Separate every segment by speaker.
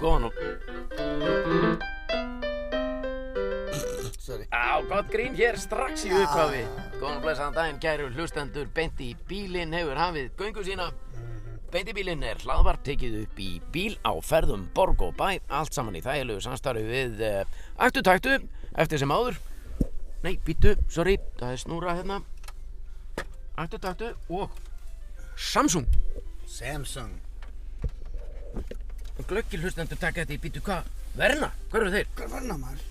Speaker 1: góðan og
Speaker 2: Sorry.
Speaker 1: Á, gott grín hér strax í
Speaker 2: Já.
Speaker 1: upphafi. Góðan og blessaðan daginn, gæru hlustendur, beint í bílinn hefur hafið göngu sína. Beint í bílinn er hlaðvarp tekið upp í bíl á ferðum borg og bæ, allt saman í þægilegu samstarfi við uh, Aktu Taktu, eftir sem áður. Nei, býttu, sorry, það er snúra hérna. Aktu Taktu og Samsung.
Speaker 2: Samsung.
Speaker 1: Glöggil hlustendur taka þetta í býttu hvað? Verna, hvað eru þeir?
Speaker 2: Hvað var hann að maður?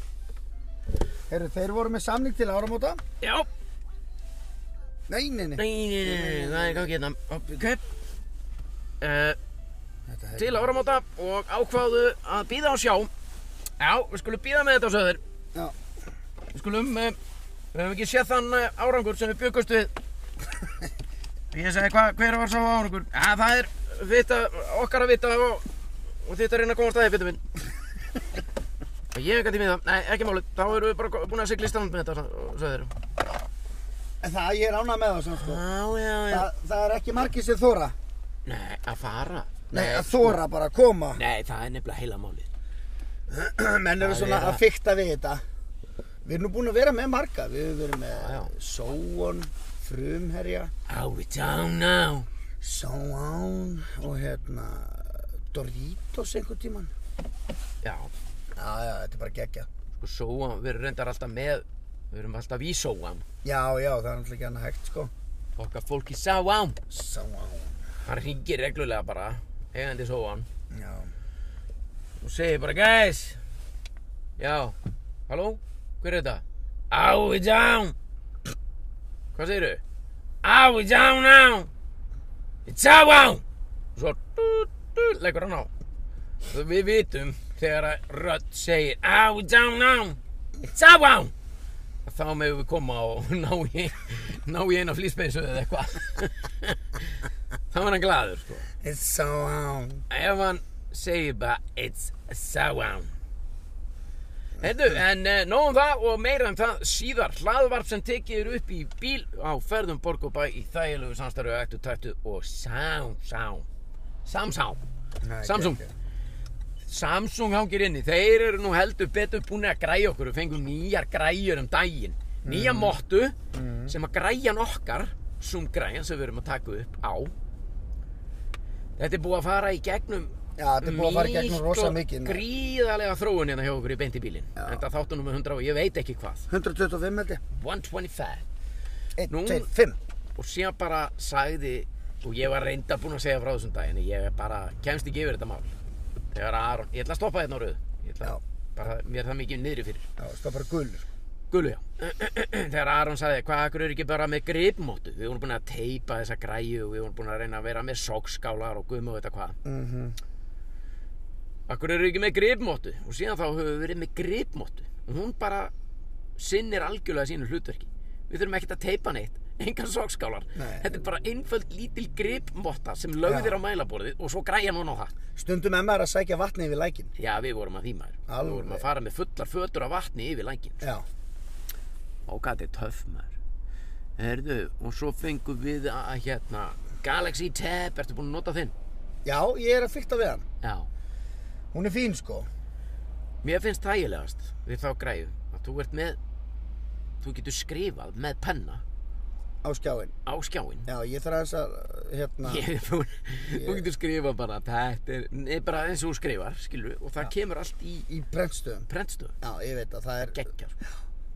Speaker 2: Heyrðu, þeir voru með samning til áramóta?
Speaker 1: Já,
Speaker 2: Nei, nei,
Speaker 1: Nei,
Speaker 2: nei.
Speaker 1: nei, nei, nei, það er ekki hérna Ok uh,
Speaker 2: Þetta er-
Speaker 1: Til áramóta og ákváðu að býða og sjá Já, við skulum býða með þetta á söður
Speaker 2: Já.
Speaker 1: Við skulum, uh, við hefum ekki séð þann uh, árangur sem við byggust við Ég segi, hva, hver var sá árangur? Já, það er vita, okkar að vita og, og þetta er reyna að komast aðeins, vita minn Ég hef ekki tímið það, nei, ekki máli Þá erum við bara búin að sigla í stand með þetta á söður
Speaker 2: En það, ég er ánað með það samt sko.
Speaker 1: Já, já, já
Speaker 2: Það, það er ekki margir sem þóra.
Speaker 1: Nei, að fara
Speaker 2: Nei, að þóra bara að koma.
Speaker 1: Nei, það er nefnilega heila málið.
Speaker 2: Menn eru
Speaker 1: Það
Speaker 2: svona
Speaker 1: er
Speaker 2: að
Speaker 1: það.
Speaker 2: fykta við þetta. Við erum nú búin að vera með marga. Við erum verið með
Speaker 1: Já, já.
Speaker 2: Sóon, Frumherja,
Speaker 1: Are we down now?
Speaker 2: Sóon og hérna Doritos einhvern tíman.
Speaker 1: Já,
Speaker 2: Já, já, þetta er bara geggja.
Speaker 1: sko sóan, við erum reyndar alltaf með, við erum alltaf í sóan.
Speaker 2: Já, já, það er náttúrulega ekki annað hægt sko.
Speaker 1: Okkar fólk í sáan.
Speaker 2: Sóon.
Speaker 1: Hann ringir reglulega bara, eigandi sóan,
Speaker 2: Já.
Speaker 1: og segir bara, guys, já, halló, hver er þetta? Are we down? Hvað segirðu? Are we down now? It's sáan! Og svo, dú, dú, leggur hann á. Og Við vitum þegar að rödd segir Are we down now? It's sáan! Þá meðum við koma og ná í, ná í eina flýspeysu eða eitthvað. Þá er hann glaður, sko.
Speaker 2: It's um, Sóon.
Speaker 1: Ef hann segir bara It's Sawan Heyrðu, en uh, nóg um það og meira um það síðar hlaðvarp sem tekið er upp í bíl á ferðum borg og bæ í þægilegu samstarfi og ektu tættu og sám, sám, samsám
Speaker 2: Nei,
Speaker 1: Samsung.
Speaker 2: geggjað.
Speaker 1: Samsung hangir inni, þeir eru nú heldur betur búin að græja okkur við fengum nýjar græjur um daginn nýja mottu sem að græjan okkar sumgræjan sem við erum að taka upp á þetta er búið að fara í gegnum
Speaker 2: Já, þetta er búið að fara í gegnum rosa mikið núna.
Speaker 1: gríðalega þróun hérna hjá okkur í beint í bílinn
Speaker 2: Já.
Speaker 1: en það þáttu nummer 100 og ég veit ekki hvað
Speaker 2: 125 held ég.
Speaker 1: 125
Speaker 2: 1,
Speaker 1: Nú-
Speaker 2: 2, 5.
Speaker 1: og síðan bara sagði og ég var reynda búinn að segja frá þessum dag en ég bara kemst ekki yfir þetta mál þegar að Aron, ég ætla að stoppa hérna á rauðu ég ætla
Speaker 2: Já.
Speaker 1: bara, mér er það mikið niðri fyrir
Speaker 2: Já, það er bara gulur.
Speaker 1: gulu já þegar Aron sagði, hvað akkur er ekki bara með gripmóttu við vorum búin að teipa þessa græju og við vorum búin að reyna að vera með sókskálar og gumi og þetta hvað
Speaker 2: Mm
Speaker 1: akkur eru ekki með gripmóttu og síðan þá höfum við verið með gripmóttu og hún bara sinnir algjörlega sínu hlutverki við þurfum ekkert að teipa neitt engan sokskálar
Speaker 2: Nei.
Speaker 1: þetta er bara einföld lítil gripmotta sem lögðir
Speaker 2: Já.
Speaker 1: á mælaborðið og svo græja núna á það
Speaker 2: Stundum emma er að sækja vatni yfir lækin.
Speaker 1: já við vorum að því maður
Speaker 2: Alveg.
Speaker 1: við vorum að fara með fullar fötur af vatni yfir lækin
Speaker 2: Já.
Speaker 1: og hvað þetta er töff maður Herðu, og svo fengum við að að hérna Galaxy Tab, ertu búin að nota þinn?
Speaker 2: Já, ég er að fylta við hann.
Speaker 1: Já,
Speaker 2: Hún er fín sko.
Speaker 1: mér finnst þægilegast við þá græju að þú ert með þú getur skrifað með penna
Speaker 2: Á skjáin.
Speaker 1: á skjáinn
Speaker 2: Já, ég þarf aðeins að, hérna,
Speaker 1: Ég er búin, þú getur skrifað bara þetta er, nei, bara eins og þú skrifar, skilur og það kemur allt í
Speaker 2: í prentstöðum.
Speaker 1: prentstöð
Speaker 2: Já, ég veit að það er,
Speaker 1: geggjar, sko.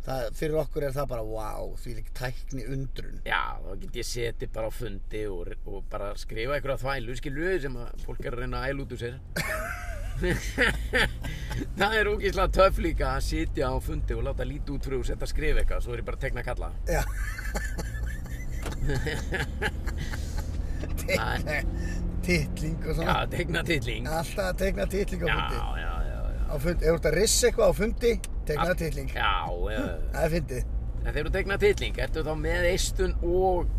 Speaker 2: það, fyrir okkur er það bara, wow, því lík tækni undrun.
Speaker 1: já, þá get ég setið bara á fundi og, og bara skrifa einhverja þvælu, skilur sem að fólk er að reyna að æla út úr sér það er ógeðslega töff líka að sitja á fundi og láta líti út fyrir og setja að skrifa eitthvað, svo er ég bara að tekna að kalla
Speaker 2: Já.
Speaker 1: Nei.
Speaker 2: Tittling og
Speaker 1: já,
Speaker 2: svona.
Speaker 1: tekna tilling já,
Speaker 2: Alltaf að tekna tittling á fundi.
Speaker 1: já, já, já
Speaker 2: Á fundi, ef þú ert að rissa eitthvað á fundi, tekna tittling.
Speaker 1: já, já, já
Speaker 2: Það er fyndið.
Speaker 1: En þegar þú tegnar titling, ertu þá með eistun og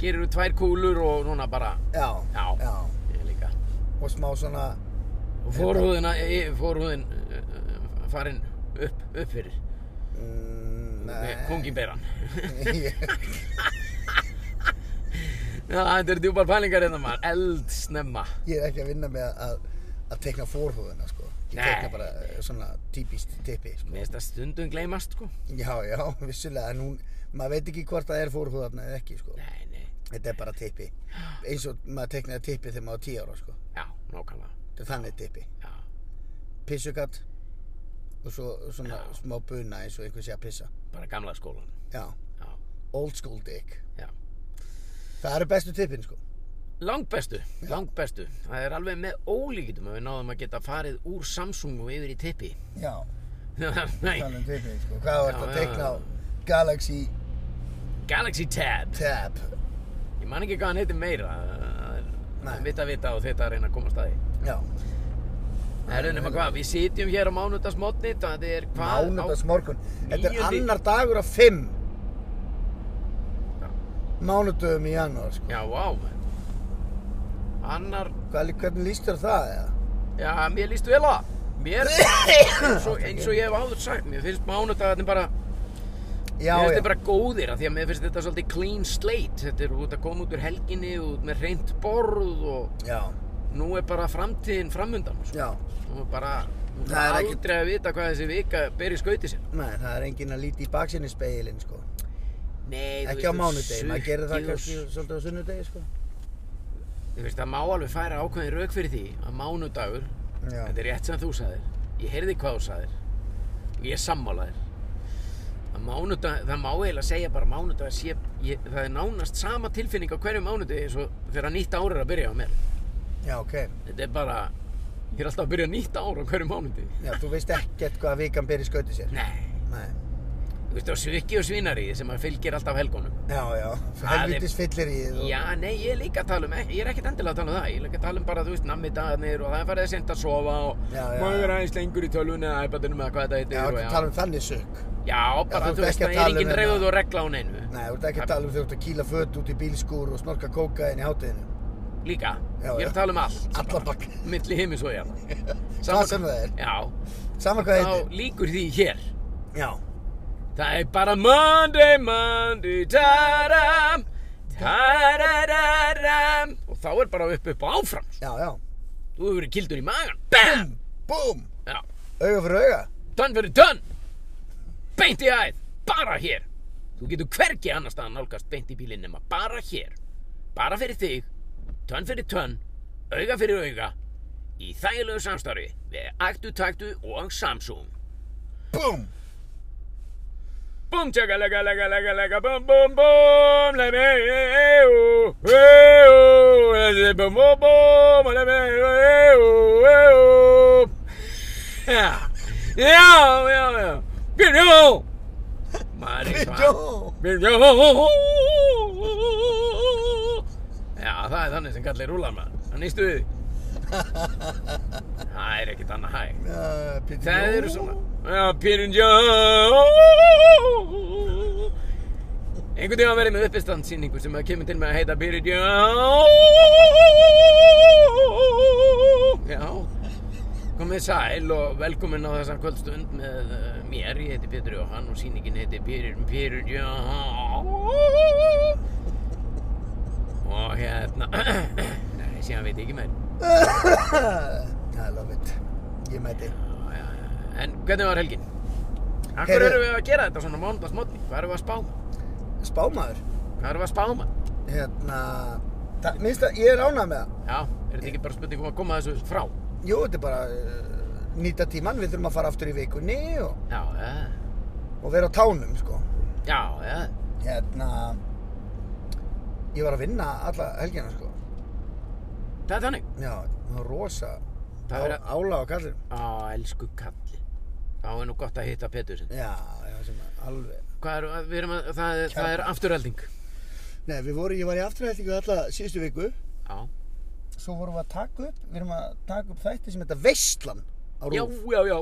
Speaker 1: gerir þú tvær kúlur og núna bara,
Speaker 2: Já.
Speaker 1: já,
Speaker 2: Já.
Speaker 1: ég líka.
Speaker 2: Og smá svona,
Speaker 1: Og fórhúðina, eh, fórhúðin uh, farin upp, upp fyrir,
Speaker 2: mm,
Speaker 1: með kunginberan.
Speaker 2: Ég-
Speaker 1: Já, þetta eru djúpar pælingar hérna maður, eldsnemma.
Speaker 2: ég er ekki að vinna með að, að teikna fórhúðuna sko ég
Speaker 1: Nei.
Speaker 2: teikna bara eh, svona típist tippi sko.
Speaker 1: Mér finnst það stundum gleymast sko
Speaker 2: já, já, vissulega en hún, maður veit ekki hvort það er fórhúðarna eða ekki sko
Speaker 1: Nei, nei,
Speaker 2: þetta er bara tippi eins og maður teiknaði tippi þegar maður var 10 ára sko
Speaker 1: já, nákvæmlega
Speaker 2: þetta er þannig tippi
Speaker 1: Já,
Speaker 2: pissugatt og svo svona
Speaker 1: Já.
Speaker 2: smá buna eins og einhver sé að pissa
Speaker 1: bara gamla skólan
Speaker 2: já,
Speaker 1: Já,
Speaker 2: old school dick
Speaker 1: já
Speaker 2: það eru bestu tippin sko
Speaker 1: Langbestu, langbestu Það er alveg með ólíkitum að við náðum að geta farið úr Samsung og yfir í tippi
Speaker 2: já,
Speaker 1: Nei,
Speaker 2: um tippin sko hvað var
Speaker 1: Já,
Speaker 2: þetta að
Speaker 1: já,
Speaker 2: teikna á
Speaker 1: já.
Speaker 2: Galaxy
Speaker 1: Galaxy Tab
Speaker 2: Tab
Speaker 1: Ég man ekki hvað hann heitir meira Það er- það
Speaker 2: Nei.
Speaker 1: er vita vita og þetta að reyna að komast að því
Speaker 2: já,
Speaker 1: Það er nema hvað, við sitjum hér á mánudagsmotni Það er hvað
Speaker 2: mánudags morgun þetta er
Speaker 1: Níundi-
Speaker 2: annar dagur af fimm
Speaker 1: Já.
Speaker 2: mánudöfum í janúar sko
Speaker 1: Já, vá menn. Annar
Speaker 2: Hvað, hvernig líst þér á það eða?
Speaker 1: Já, mér líst vel á það. Mér, eins og, eins og ég hef áður sagt, mér finnst mánudagarnir bara,
Speaker 2: já,
Speaker 1: mér finnst
Speaker 2: já,
Speaker 1: þeir bara góðir af því að mér finnst þetta svolítið clean slate. Þetta er út að koma út úr helginni og út með reynd borð og
Speaker 2: já,
Speaker 1: nú er bara framtíðin framundan. Sko.
Speaker 2: já
Speaker 1: Nú er bara, nú er
Speaker 2: Það er
Speaker 1: bara
Speaker 2: ekkert-
Speaker 1: aldrei að vita hvað þessi vika ber í skauti sér.
Speaker 2: Nei, það er enginn að líti í baksinni speilin sko
Speaker 1: Nei,
Speaker 2: ekki á mánudegi, maður gerir það
Speaker 1: sukkið og
Speaker 2: kannski svolítið á sunnudegi sko
Speaker 1: Þú veist, það má alveg færa ákveðin rauk fyrir því að mánudagur,
Speaker 2: Já.
Speaker 1: þetta er rétt sem þú sagðir, ég heyrði hvað þú sagðir og ég er sammálaðir. Að mánudag, það má eiginlega segja bara mánudag, sé, ég, það er nánast sama tilfinning á hverju mánudagi eins og þegar nýtt ár er að byrja á mér.
Speaker 2: Já, ok.
Speaker 1: Þetta er bara, ég er alltaf að byrja nýtt ár á hverju mánudagi.
Speaker 2: Já, þú veist ekkert hvað vikan byrja í skauti sér.
Speaker 1: Nei,
Speaker 2: Nei.
Speaker 1: þú veist, það sviki og svínari sem að fylgir alltaf helgunum.
Speaker 2: Já, já.
Speaker 1: Það er-
Speaker 2: Helvitis fyllir í þið.
Speaker 1: Já, nei, ég er líka að tala um, ég er ekkert endilega að tala um það, ég er líka að tala um bara, þú veist, nammi dagarnir og það er farið að senda að sofa og
Speaker 2: Já, já.
Speaker 1: maður er aðeins lengur í tölvunni eða iPadunum eða hvað þetta heitir
Speaker 2: Já,
Speaker 1: og
Speaker 2: ekki tala um þannig sök.
Speaker 1: Já, bara,
Speaker 2: þú ert
Speaker 1: þú veist,
Speaker 2: ekki að
Speaker 1: það er
Speaker 2: tala um
Speaker 1: engin
Speaker 2: hérna-
Speaker 1: reyð og regla á neinu.
Speaker 2: Nei, þú ert ekki að tala um þegar þú ert að kýla fött út í bílskúr og snorka kókaðin í hátíðinu.
Speaker 1: Líka,
Speaker 2: Já,
Speaker 1: ég er
Speaker 2: já.
Speaker 1: að tala um allt,
Speaker 2: Alla bakk.
Speaker 1: milli heimis og hérna.
Speaker 2: Hvað sem það er.
Speaker 1: Já,
Speaker 2: Sama hvað
Speaker 1: þá
Speaker 2: heitir.
Speaker 1: líkur því hér.
Speaker 2: Já.
Speaker 1: Það er bara Monday, Monday, taram, tararam og þá er bara upp upp og áfram.
Speaker 2: Já, já.
Speaker 1: Þú hefur verið kildur í magan, bam,
Speaker 2: Búm!
Speaker 1: já.
Speaker 2: Auga fyrir auga.
Speaker 1: Tönn fyrir tönn Beint í æð, bara hér Þú getur hvergi annars staðan nálgast beint í bílinn nema bara hér Bara fyrir þig, tönn fyrir tönn Auga fyrir auga Í þægilegu samstarfi Við Aktu Taktu og Samsung
Speaker 2: Búm!
Speaker 1: Búm tjaka lega lega lega lega Búm búm búm Lemi eu eu Þessi búm búm búm Lemi eu eu Já Já já já Byrjó
Speaker 2: Byrjó.
Speaker 1: Byrjó Já það er þannig sem kallir rúlar maður Það nýstu við því. Það er ekkert annað hægt
Speaker 2: Uh, Pétur
Speaker 1: Það
Speaker 2: Jó.
Speaker 1: eru svona Já, Pyrrhjón Jó Einhvern tíma verið með uppistandsýningu sem að kemur til með að heita Pyrrhjón Jó Já Komið sæl og velkomin á þessa kvöldstund með uh, mér, ég heiti Pétur Jóhann og sýningin heiti Pyrrhjón Pyrrhjón Og hérna Nei, síðan veit ég ekki meir
Speaker 2: I love it. Ég mæti.
Speaker 1: Já, já, já. En hvernig var helgin? Akkur
Speaker 2: Heyrðu-
Speaker 1: erum við að gera þetta svona mánudagsmotni? Hvað erum við að spáma?
Speaker 2: Spámaður.
Speaker 1: Hvað erum við að um spáma?
Speaker 2: Hérna. Það, minnst að ég er ánað með það.
Speaker 1: Já, er þetta ekki bara spurning um að koma þessu frá?
Speaker 2: Jú, þetta er bara uh, nýta tíman, við þurfum að fara aftur í vikunni og,
Speaker 1: Já, já,
Speaker 2: og vera á tánum, sko.
Speaker 1: já, já,
Speaker 2: Hérna, ég var að vinna alla helgina, sko.
Speaker 1: það er þannig.
Speaker 2: Já, það var rosa
Speaker 1: Það er að,
Speaker 2: ála á kallinum.
Speaker 1: á, elsku kalli. Þá er nú gott að hitta Petur sinn.
Speaker 2: Já, já, sem að alveg.
Speaker 1: Hvað er, að- við erum að, það, er- það er afturhelding.
Speaker 2: Nei, við vorum, ég var í afturhættingu alla síðustu viku.
Speaker 1: Já,
Speaker 2: Svo vorum við að taka upp, við erum að taka upp þætti sem þetta Veistlan á
Speaker 1: já,
Speaker 2: Rúf.
Speaker 1: já, já,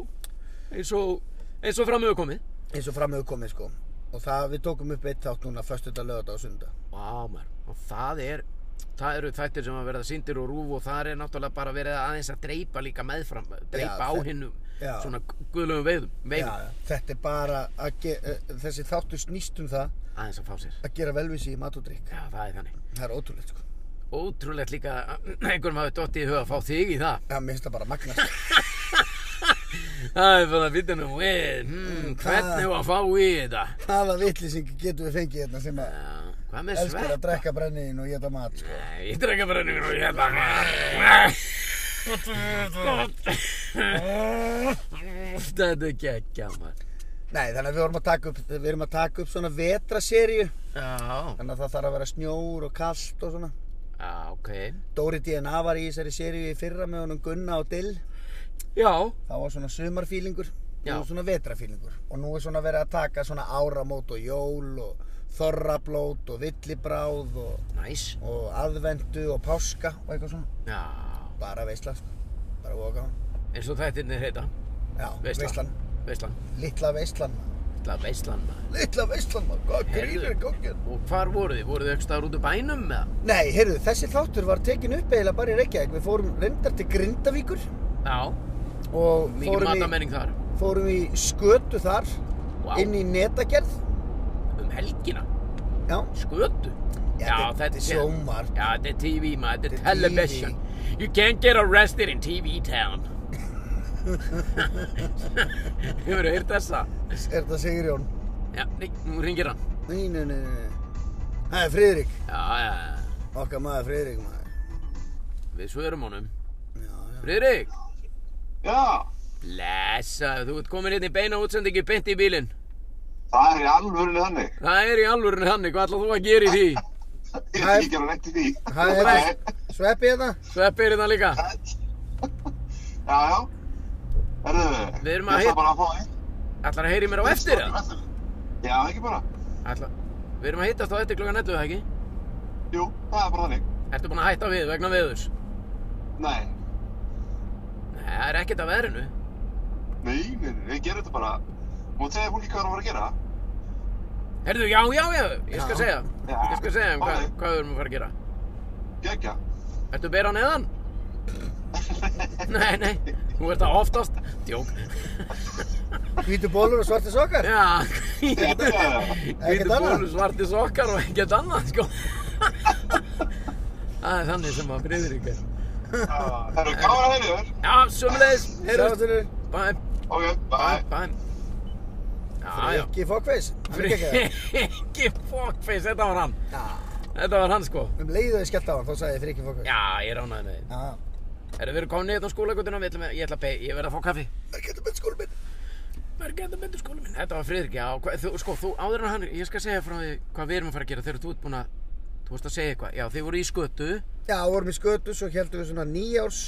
Speaker 1: eins og, eins og framöðu komið.
Speaker 2: Eins og framöðu komið, sko. Og það, við tókum upp eitt þátt núna, föstu þetta lögata og sunda.
Speaker 1: Vá, maður, og það er, það eru þættir sem að verða sýndir og rúf og það er náttúrulega bara verið aðeins að dreipa líka meðfram, dreipa á
Speaker 2: þetta-
Speaker 1: hinnum,
Speaker 2: já.
Speaker 1: svona guðlegum veiðum,
Speaker 2: Já,
Speaker 1: veiðum,
Speaker 2: já. þetta er bara að ge, eh, þessi þáttu snýst um það
Speaker 1: aðeins að fá sér.
Speaker 2: að gera velvísi í mat og drikk.
Speaker 1: Já, það er þannig.
Speaker 2: Það er ótrúlegt sko.
Speaker 1: ótrúlegt líka að einhverjum hafi dottið í huga að fá þig í það.
Speaker 2: Já, mér finnst það bara magnast.
Speaker 1: Það er bara að finna nú við,
Speaker 2: Mm,
Speaker 1: hmm, hvernig á að fá í þetta?
Speaker 2: Hvaða vitlýsing getum við fengið hérna sem að
Speaker 1: Já, hvað með
Speaker 2: elskar að
Speaker 1: Eh, sveppa?
Speaker 2: drekka brenniðin og geta mat, sko.
Speaker 1: Nei, Ég drekka bara hérna, niður og ég þetta. Eh. Þetta er geggja, mann.
Speaker 2: Nei, þannig að við vorum að taka upp, við erum að taka upp svona vetraseríu.
Speaker 1: Já,
Speaker 2: Þannig að það þarf að vera snjór og kallt og svona.
Speaker 1: já, ok.
Speaker 2: Dóri DNA var í þessari seríu í fyrra með honum Gunna og Dill.
Speaker 1: Já,
Speaker 2: Það var svona sumarfílingur
Speaker 1: Já.
Speaker 2: og svona vetrafílingur og nú er svona verið að taka svona áramót og jól og þorrablót og villibráð og,
Speaker 1: næs.
Speaker 2: og aðvendu og páska og eitthvað svona
Speaker 1: Já,
Speaker 2: bara veisla sko, bara voka
Speaker 1: eins og þættirnir heita.
Speaker 2: Já,
Speaker 1: Veislan.
Speaker 2: veislan,
Speaker 1: Veislan.
Speaker 2: litla veislan
Speaker 1: Þetta er veislan, maður.
Speaker 2: Litla veislan, maður, hvað grýr er góngin
Speaker 1: Og hvar voru þið? Voru þið ekki staðar út úr bænum með það?
Speaker 2: Nei, heyrðu, þessi þáttur var tekin upp eiginlega bara í Reykjavík Við fórum reyndar til Grindavíkur
Speaker 1: Já,
Speaker 2: og
Speaker 1: mikið
Speaker 2: fórum í,
Speaker 1: matamenning þar.
Speaker 2: fórum í skötu þar
Speaker 1: Vá.
Speaker 2: inn í netagerð
Speaker 1: Um helgina,
Speaker 2: Já,
Speaker 1: skötu. Já, þetta er
Speaker 2: sjómar
Speaker 1: Já, þetta er TV maður, þetta
Speaker 2: Þetta
Speaker 1: er
Speaker 2: er
Speaker 1: television. You can't get arrested in TV town. Hefur þú heyrt þessa?
Speaker 2: Er þetta Sigurjón?
Speaker 1: Já, nei, nú ringir hann.
Speaker 2: Nei, nei, nei, nei. nei. Það er Friðrik.
Speaker 1: Já, já, já,
Speaker 2: Okkar maður Friðrik maður.
Speaker 1: við svörum honum.
Speaker 2: Já, já.
Speaker 1: Friðrik,
Speaker 3: Já,
Speaker 1: blessa, þú ert komin hérna í beina útsendingi beint í bílinn.
Speaker 3: það er í alvörinu þannig.
Speaker 1: Það er í alvörinu hannig, hvað ætlað þú að gera í því?
Speaker 3: Ég
Speaker 2: Hæ.
Speaker 3: er ekki að neitt í því.
Speaker 2: Hæ, þetta sveppi þetta?
Speaker 1: Sveppi er hérna líka.
Speaker 3: Já, já. Herðu,
Speaker 1: Við erum
Speaker 3: ég
Speaker 1: að
Speaker 3: ætla
Speaker 1: heyr-
Speaker 3: bara að fá einn.
Speaker 1: Ætlar að heyri mér á eftir það?
Speaker 3: Já, ekki bara.
Speaker 1: Ætla, við erum að hittast á eftir klokkan 11, eða ekki?
Speaker 3: Jú, það er bara þannig.
Speaker 1: Ertu búinn að hætta við vegna veðurs?
Speaker 3: Nei,
Speaker 1: Nei, það er ekkert að veðrinu.
Speaker 3: nei, nei, nei, ég gerum þetta bara. Má segja fólki hvað það var að gera?
Speaker 1: Herðu, já, já, já, ég skal
Speaker 2: Já.
Speaker 1: segja.
Speaker 3: Já.
Speaker 1: Ég skal segja um hvað,
Speaker 3: Ok.
Speaker 1: hvað við erum að fara að gera.
Speaker 3: Gekja.
Speaker 1: Ertu að bera á neðan? Nei, nei, þú ert það oftast. Djók.
Speaker 2: Hvítu bólur og svarti sokkar?
Speaker 1: Já,
Speaker 3: Ekkert annað.
Speaker 1: hvítu
Speaker 2: annað.
Speaker 1: bólu svarti sokkar og ekkert annað, sko. Það er þannig sem að breyður ykkur.
Speaker 3: Það eru gaman að heyra þér.
Speaker 1: Já, sömulegis, heyrðust.
Speaker 2: Sáttur
Speaker 1: Bæ,
Speaker 3: Ok,
Speaker 1: bæ,
Speaker 3: bye.
Speaker 1: bæ. Já, já.
Speaker 2: Friki Fokkveis.
Speaker 1: Frikki Fokkface, þetta var hann
Speaker 2: Já,
Speaker 1: Þetta var hann sko
Speaker 2: um leiðu þau skellt á hann, þá sagði ég Friki Fokkveis.
Speaker 1: Já, ég ránaði með þið
Speaker 2: Já.
Speaker 1: Erum við komin niður á skólagutuna, ég ætla að, ég ætla að be- ég verð að fá kaffi
Speaker 2: Það getur með skólu minn.
Speaker 1: Bergenda myndu skóla minn Þetta var Friðrik, já, hva, þú, sko, þú áður en hann Ég skal segja frá því hvað við erum að fara að gera þegar þú ert búin að Þú varst að segja eitthvað, já, þið voru í skötu
Speaker 2: Já, vorum í skötu, svo heldum við svona nýjárs...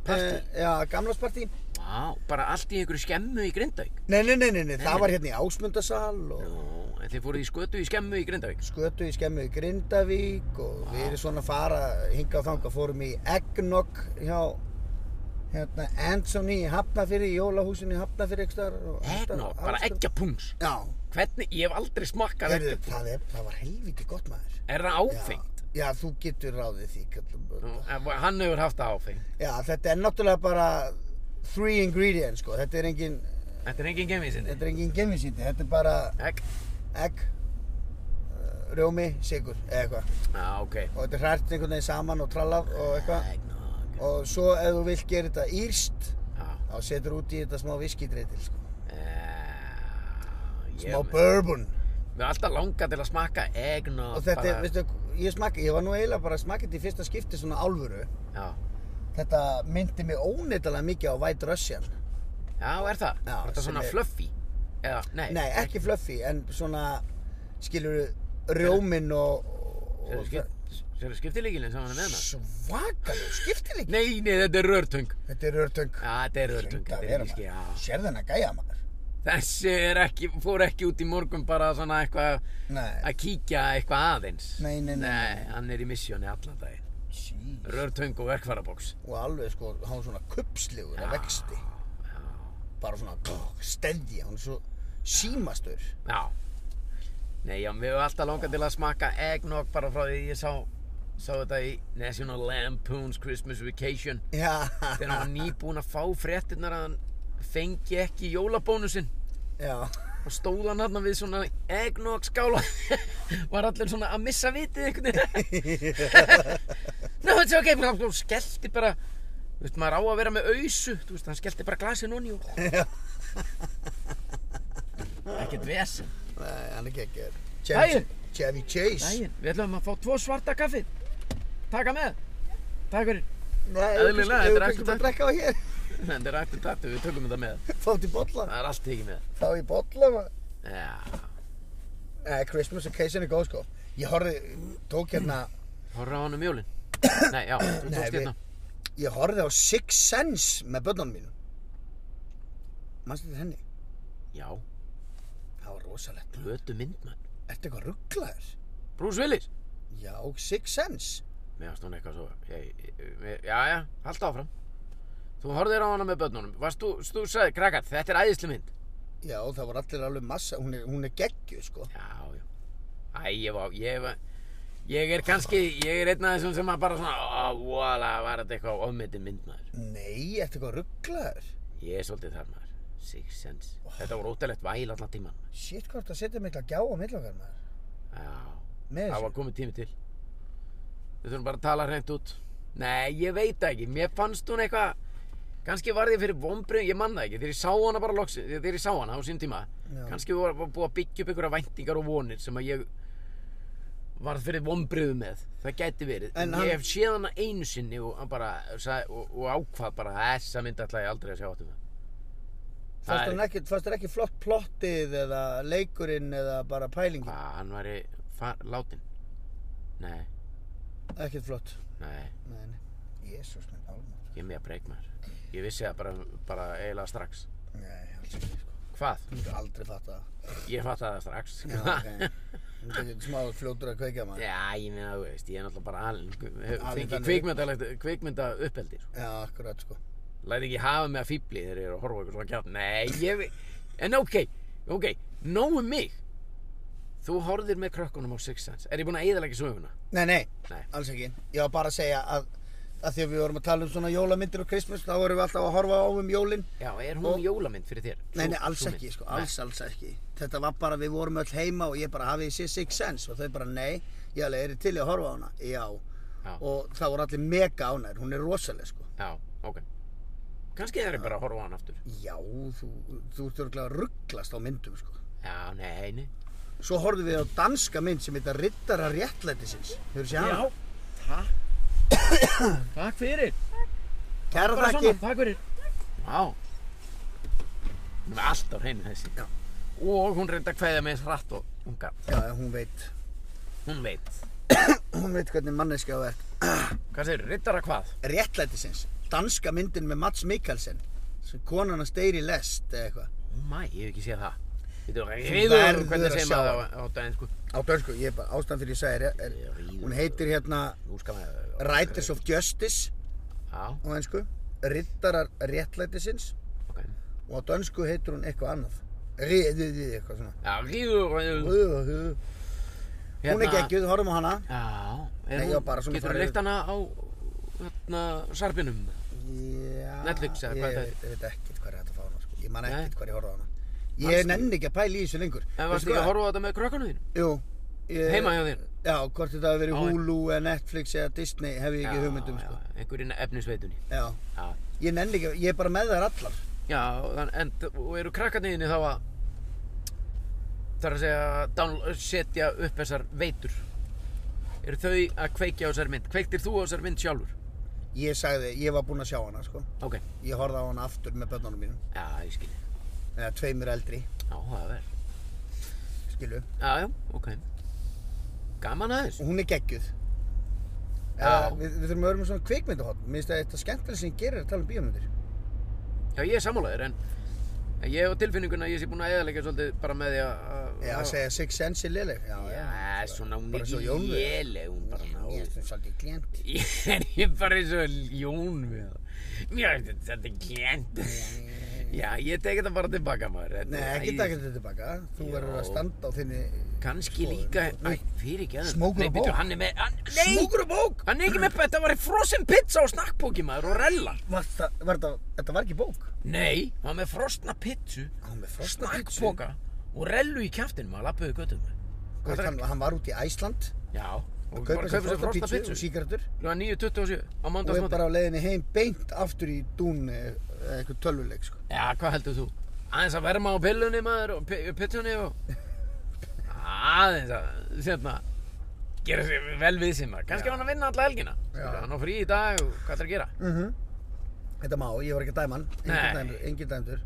Speaker 1: Partí.
Speaker 2: Eh, já, gamlarspartí.
Speaker 1: Vá, bara allt í einhverju skemmu í Grindavík
Speaker 2: Nei, nei, nei, nei, nei, það var hérna í Ásmundasal og...
Speaker 1: Nú, en þið voru í skötu í skemmu í Grindavík
Speaker 2: skötu í skemmu í Grindavík og við erum svona að fara hinga og þanga, fórum í Eggnog hjá hérna, Anthony í Hafnafyrri, í jólahúsinu í Hafnafyrri ekstar og
Speaker 1: Egnog,
Speaker 2: allstaðar-
Speaker 1: bara
Speaker 2: allstaðar.
Speaker 1: eggjapungs
Speaker 2: Já,
Speaker 1: Hvernig, ég hef aldrei smakkað
Speaker 2: heyrðu,
Speaker 1: eggjapung
Speaker 2: það, er, það var helviti gott maður
Speaker 1: Er það
Speaker 2: Já.
Speaker 1: áfengt?
Speaker 2: Já, þú getur ráðið því
Speaker 1: Nú,
Speaker 2: kallum.
Speaker 1: en Hann hefur haft það áfengt
Speaker 2: Já, þetta er náttúrulega bara three ingredients sko, þetta er engin
Speaker 1: Þetta er engin gemvísindi.
Speaker 2: þetta er engin gemmisýndi, þetta er bara
Speaker 1: Egg?
Speaker 2: egg eh, rjómi, sigur eða eitthvað
Speaker 1: Já, ok.
Speaker 2: og þetta er hrært einhvern veginn saman og trallað og eitthvað
Speaker 1: Eggnog.
Speaker 2: og svo ef þú vilt gera þetta írst
Speaker 1: Já.
Speaker 2: þá setur út í þetta smá viskidreitil sko.
Speaker 1: Eh, ég-
Speaker 2: smá bourbon
Speaker 1: Mér er alltaf langað til að smakka eggnog.
Speaker 2: og þetta er,
Speaker 1: bara-
Speaker 2: veistu, ég smakka, ég var nú eiginlega bara að smakka þetta í fyrsta skipti svona álfuru
Speaker 1: Já.
Speaker 2: þetta myndi mig óneittalega mikið á White Russian
Speaker 1: Já, er það?
Speaker 2: Já,
Speaker 1: Er þetta
Speaker 2: sem
Speaker 1: svona
Speaker 2: er-
Speaker 1: fluffy? Eða, nei.
Speaker 2: nei, ekki fluffy, en svona skilur rjómin og, og
Speaker 1: Sér er skiptileikilinn sem hann er með maður?
Speaker 2: svakaleg skiptileik
Speaker 1: Nei, nei, þetta er rörtung.
Speaker 2: þetta er rörtöng
Speaker 1: Já, þetta er rörtung.
Speaker 2: Hljóta að
Speaker 1: Þetta er
Speaker 2: vera,
Speaker 1: ekki, já.
Speaker 2: maður. sérð hennar gæja maður
Speaker 1: Þessi er ekki, fór ekki út í morgun bara svona eitthvað
Speaker 2: nei,
Speaker 1: að kíkja eitthvað aðeins.
Speaker 2: Nei, nei, nei, nei.
Speaker 1: Nei, hann er í missjóni allan daginn.
Speaker 2: sí
Speaker 1: Rörtung og verkfærabóks.
Speaker 2: og alveg sko, hann var svona kupslegur að vexti
Speaker 1: Já.
Speaker 2: bara svona stendi, hann er svo símastur
Speaker 1: Já Nei, já, mér hefur alltaf langað til að smakka eggnog bara frá því ég sá, sá þetta í National Lampoon's Christmas Vacation
Speaker 2: Já,
Speaker 1: þegar hann var nýbúinn að fá fréttirnar að hann fengi ekki jólabónusinn
Speaker 2: já,
Speaker 1: og stóð hann hann við svona eggnog skála var allir svona að missa vitið einhvern veginn no it's okay Bara hann skellti bara þú veist maður á að vera með ausu þú veist hann skellti bara glasið núni og ekkert vesen
Speaker 2: Nei, hann er geggjör.
Speaker 1: Daginn.
Speaker 2: Chevy Chase.
Speaker 1: Dægin, við ætlum að fá tvo svarta kaffi taka með takk fyrir
Speaker 2: Nei,
Speaker 1: Eðlilega, þetta er
Speaker 2: Þetta er að drekka á hér.
Speaker 1: þetta er aftur tattu við tökum þetta með
Speaker 2: Fátt í bolla.
Speaker 1: það er allt tekið með
Speaker 2: Fá í bolla, maður.
Speaker 1: já
Speaker 2: Nei, Eh, Christmas occasion er góð, sko. Ég horfði, tók hérna,
Speaker 1: horra á hann um jólin nei já þú
Speaker 2: Nei,
Speaker 1: tókst
Speaker 2: við-
Speaker 1: hérna
Speaker 2: ég horfði á Six Sense með börnunum mínum. Manstu þetta henni?
Speaker 1: já
Speaker 2: Það var rosalegt.
Speaker 1: blötu myndmann
Speaker 2: Ertu eitthvað rugglaður?
Speaker 1: Bruce Willis
Speaker 2: Já, Six Sense.
Speaker 1: Mér varst hún eitthvað svo ég, ég, Já, já, halda áfram Þú horfðir á hana með börnunum Varst þú, þú sagði, krakkar, þetta er æðisli mynd
Speaker 2: Já, það voru allir alveg massa. Hún er, hún er geggjuð, sko.
Speaker 1: Já, já Æ, ég var, ég var Ég er kannski, ég er einn af þessum sem að bara svona Ó, vola, var þetta eitthvað ofmyndi mynd maður
Speaker 2: Nei, ertu eitthvað rugglaður?
Speaker 1: Ég er svolítið þar maður Six Sense Þetta var óttalegt væl allan tíman
Speaker 2: Shit, hvað ertu að setja mikla gjá á millokkar, maður?
Speaker 1: Já,
Speaker 2: Með
Speaker 1: það var
Speaker 2: þessu?
Speaker 1: komið tími til Við þurfum bara að tala hreint út Nei, ég veit það ekki, mér fannst hún eitthvað kannski var ég fyrir vombrið, ég man það ekki þegar ég sá hana bara loks, þegar ég sá hana á sín tíma
Speaker 2: Já.
Speaker 1: kannski var var búið að byggja upp einhverja væntingar og vonir sem að ég varð fyrir vombriðu með það gæti verið,
Speaker 2: En
Speaker 1: en
Speaker 2: hann-
Speaker 1: ég hef séð hana einu sinni og, hann bara, sa- og, og ákvað bara þessa mynd ætla ég aldrei að sjá áttum
Speaker 2: Fannst
Speaker 1: er-
Speaker 2: þér ekki, fannst þér ekki flott plottið eða leikurinn eða bara pælingin?
Speaker 1: hvað, hann væri far, látin nei,
Speaker 2: Ekkert flott.
Speaker 1: nei
Speaker 2: Nei, nei. Jésús minn, alveg.
Speaker 1: Ég er með að breyk maður. Ég vissi það bara, bara eiginlega strax.
Speaker 2: Nei, alls ekki, sko.
Speaker 1: Hvað?
Speaker 2: Þú myndir aldrei fatta það.
Speaker 1: Ég fatt það strax.
Speaker 2: Já, ok. Þú myndir ekki smá fljótur að kveika maður.
Speaker 1: Já, ég meina, þú veist, ég er náttúrulega bara alveg,
Speaker 2: Alinn
Speaker 1: fengi
Speaker 2: þannig.
Speaker 1: kvikmyndalegt, kvikmynda uppeldi, sko.
Speaker 2: Já, akkurat, sko.
Speaker 1: Læði ekki hafa mig að fýbli þegar ég er að horfa á eitthvað svona kjátt. Nei, ég veit, en ok, ok, nógu mig. Þú horfðir með krökkunum á Six Sense. Er ég búinn að eiðalega söguna?
Speaker 2: Nei, nei,
Speaker 1: Nei.
Speaker 2: alls ekki. Ég var bara að segja að, að því að við vorum að tala um svona jólamyndir og Christmas, þá vorum við alltaf að horfa á um jólinn.
Speaker 1: Já, er hún
Speaker 2: Og-
Speaker 1: jólamynd fyrir þér? Sú-
Speaker 2: Nei, nei, alls
Speaker 1: sú mynd?
Speaker 2: ekki, sko,
Speaker 1: Nei.
Speaker 2: alls, alls ekki. Þetta var bara, við vorum öll heima og ég bara hafið sér Six Sense og þau bara, nei, ég alveg, er til í að horfa á hana? Já.
Speaker 1: Já,
Speaker 2: Og það voru allir mega ánægir, hún er rosaleg, sko.
Speaker 1: já, ok. Kannski er ég bara að horfa á hann aftur.
Speaker 2: Já, þú, þú ert örgulega að rugglast á myndum, sko.
Speaker 1: Já, nei, nei.
Speaker 2: Svo horfðum við á danska mynd sem heitir Riddara réttlætisins. Hefur séð hana?
Speaker 1: takk Takk fyrir
Speaker 2: Kæra
Speaker 1: Bara
Speaker 2: þakki.
Speaker 1: svona, takk fyrir Já Hún er alltaf hreinu þessi
Speaker 2: Já.
Speaker 1: Og hún reynda að kveðja með hratt og hún gat
Speaker 2: Já, já, hún veit.
Speaker 1: Hún veit
Speaker 2: Hún veit hvernig manneska þú ert.
Speaker 1: Hvað segir, riddara hvað?
Speaker 2: Réttlætisins. Danska myndin með Mats Mikkelsen. Sem konan hans deyri lest eða eitthvað.
Speaker 1: Ó mæ, ég hef ekki séð það Þú
Speaker 2: verður
Speaker 1: verður
Speaker 2: að
Speaker 1: Hvernig segir
Speaker 2: sjá
Speaker 1: maður það á sko? dænsku?
Speaker 2: Á dönsku, ég er bara ástæðan fyrir ég sagði er, er, hún heitir hérna
Speaker 1: Nú skal maður
Speaker 2: Riders of Justice
Speaker 1: Já,
Speaker 2: á ennsku. Riddarar réttlætisins.
Speaker 1: ok
Speaker 2: Og á dönsku heitir hún eitthvað annað. Riðið, eitthvað svona.
Speaker 1: Já, ríður Hérna.
Speaker 2: Hú, hú. Hún er geggjuð, horfum á hana.
Speaker 1: Já, er
Speaker 2: Nei, ég var bara svona
Speaker 1: getur
Speaker 2: farið-
Speaker 1: þú leikt hana á hérna, sarpinum?
Speaker 2: Já,
Speaker 1: Netflix eða hvað þetta
Speaker 2: ég
Speaker 1: er?
Speaker 2: veit ekkert hvað er hægt að fá hana sko. Ég man
Speaker 1: Nei.
Speaker 2: ekkert hvað ég horfði á hana
Speaker 1: Manstu?
Speaker 2: Ég nenni ekki að pæla í þessu lengur
Speaker 1: En varstu ekki að horfa á þetta með krökkunum þínum?
Speaker 2: Jú ég,
Speaker 1: Heima hjá þér?
Speaker 2: Já, hvort þetta hafi verið
Speaker 1: Á-
Speaker 2: Hulu eða Netflix eða Disney hef ég ekki hugmyndum sko.
Speaker 1: já, einhverjum efnisveitunni
Speaker 2: Já,
Speaker 1: já,
Speaker 2: ég nenni ekki, ég er bara með þær allar
Speaker 1: já þann, en og eru krakkarniðinni þá að það er að segja down, setja upp þessar veitur eru þau að kveikja á þessar mynd kveiktir þú á þessar mynd sjálfur
Speaker 2: Ég sagði, ég var búinn að sjá hana sko.
Speaker 1: ok,
Speaker 2: Ég horfði á hana aftur með börnunum mínum
Speaker 1: já, ég skil
Speaker 2: eða tveimur eldri,
Speaker 1: já, það er vel
Speaker 2: skilu
Speaker 1: já, já, ok gaman aðeins
Speaker 2: og hún er geggjuð
Speaker 1: Já.
Speaker 2: Eh, Við, við þurfum að vera með svona kvikmyndahotn Mér finnst að þetta skemmtilega sem ég gerir er að tala um bíómyndir
Speaker 1: já, ég er sammálaður en en ég hef á tilfinninguna að ég sé búinn að eðalega svolítið bara með því að að-
Speaker 2: Já,
Speaker 1: að-
Speaker 2: segja Six Sense er léleg Já,
Speaker 1: já, svona hún
Speaker 2: Bara
Speaker 1: er
Speaker 2: svo
Speaker 1: svo
Speaker 2: Jón við.
Speaker 1: hún bara
Speaker 2: Ég
Speaker 1: náður
Speaker 2: er svona svolítið gljönd.
Speaker 1: Ég er ég bara eins og ljón við það. Mér er þetta þetta er glend. Já, ég tek þetta bara tilbaka maður. Þetta-
Speaker 2: Nei, ekki
Speaker 1: Æ,
Speaker 2: taka þetta tilbaka. Þú
Speaker 1: Já.
Speaker 2: verður að standa á þinni...
Speaker 1: Kannski
Speaker 2: Skoðun.
Speaker 1: líka, æ, fyrir ekki aðeins.
Speaker 2: Smókur og
Speaker 1: Nei, bíddu,
Speaker 2: bók.
Speaker 1: hann er með, hann, nei!
Speaker 2: Smókur og bók!
Speaker 1: Hann er ekki með, þetta var í frozen pizza og snakkbóki maður og rella.
Speaker 2: Var það, var það, þetta var ekki bók.
Speaker 1: Nei, hann var með frosna pizzu,
Speaker 2: Á, með frosna pizzu?
Speaker 1: snakkbóka og rellu í kjæftinum að lappa við göttum
Speaker 2: Þú veist, hann, hann var út í Æsland
Speaker 1: Já, og
Speaker 2: að
Speaker 1: bara kaupið
Speaker 2: kaupa sér
Speaker 1: sér
Speaker 2: frosta
Speaker 1: frosta
Speaker 2: pítsu og
Speaker 1: pizzu
Speaker 2: síkardur
Speaker 1: Kljóðan 9.27 á
Speaker 2: og er
Speaker 1: mándagsmóti
Speaker 2: bara á leiðinni heim beint aftur í dún eða eitthvað tölvuleik sko.
Speaker 1: Já, hvað heldur þú? Aðeins að verma á pillunni maður og pi- pittunni og aðeins að sérna gera sér vel við sér maður kannski
Speaker 2: Já.
Speaker 1: var hann að vinna alla helgina
Speaker 2: Já.
Speaker 1: Skilur, hann á frí í dag og hvað það er að gera
Speaker 2: mm Þetta má, ég var ekki að dæma hann
Speaker 1: Nei.
Speaker 2: Engin dæmdur, engin dæmdur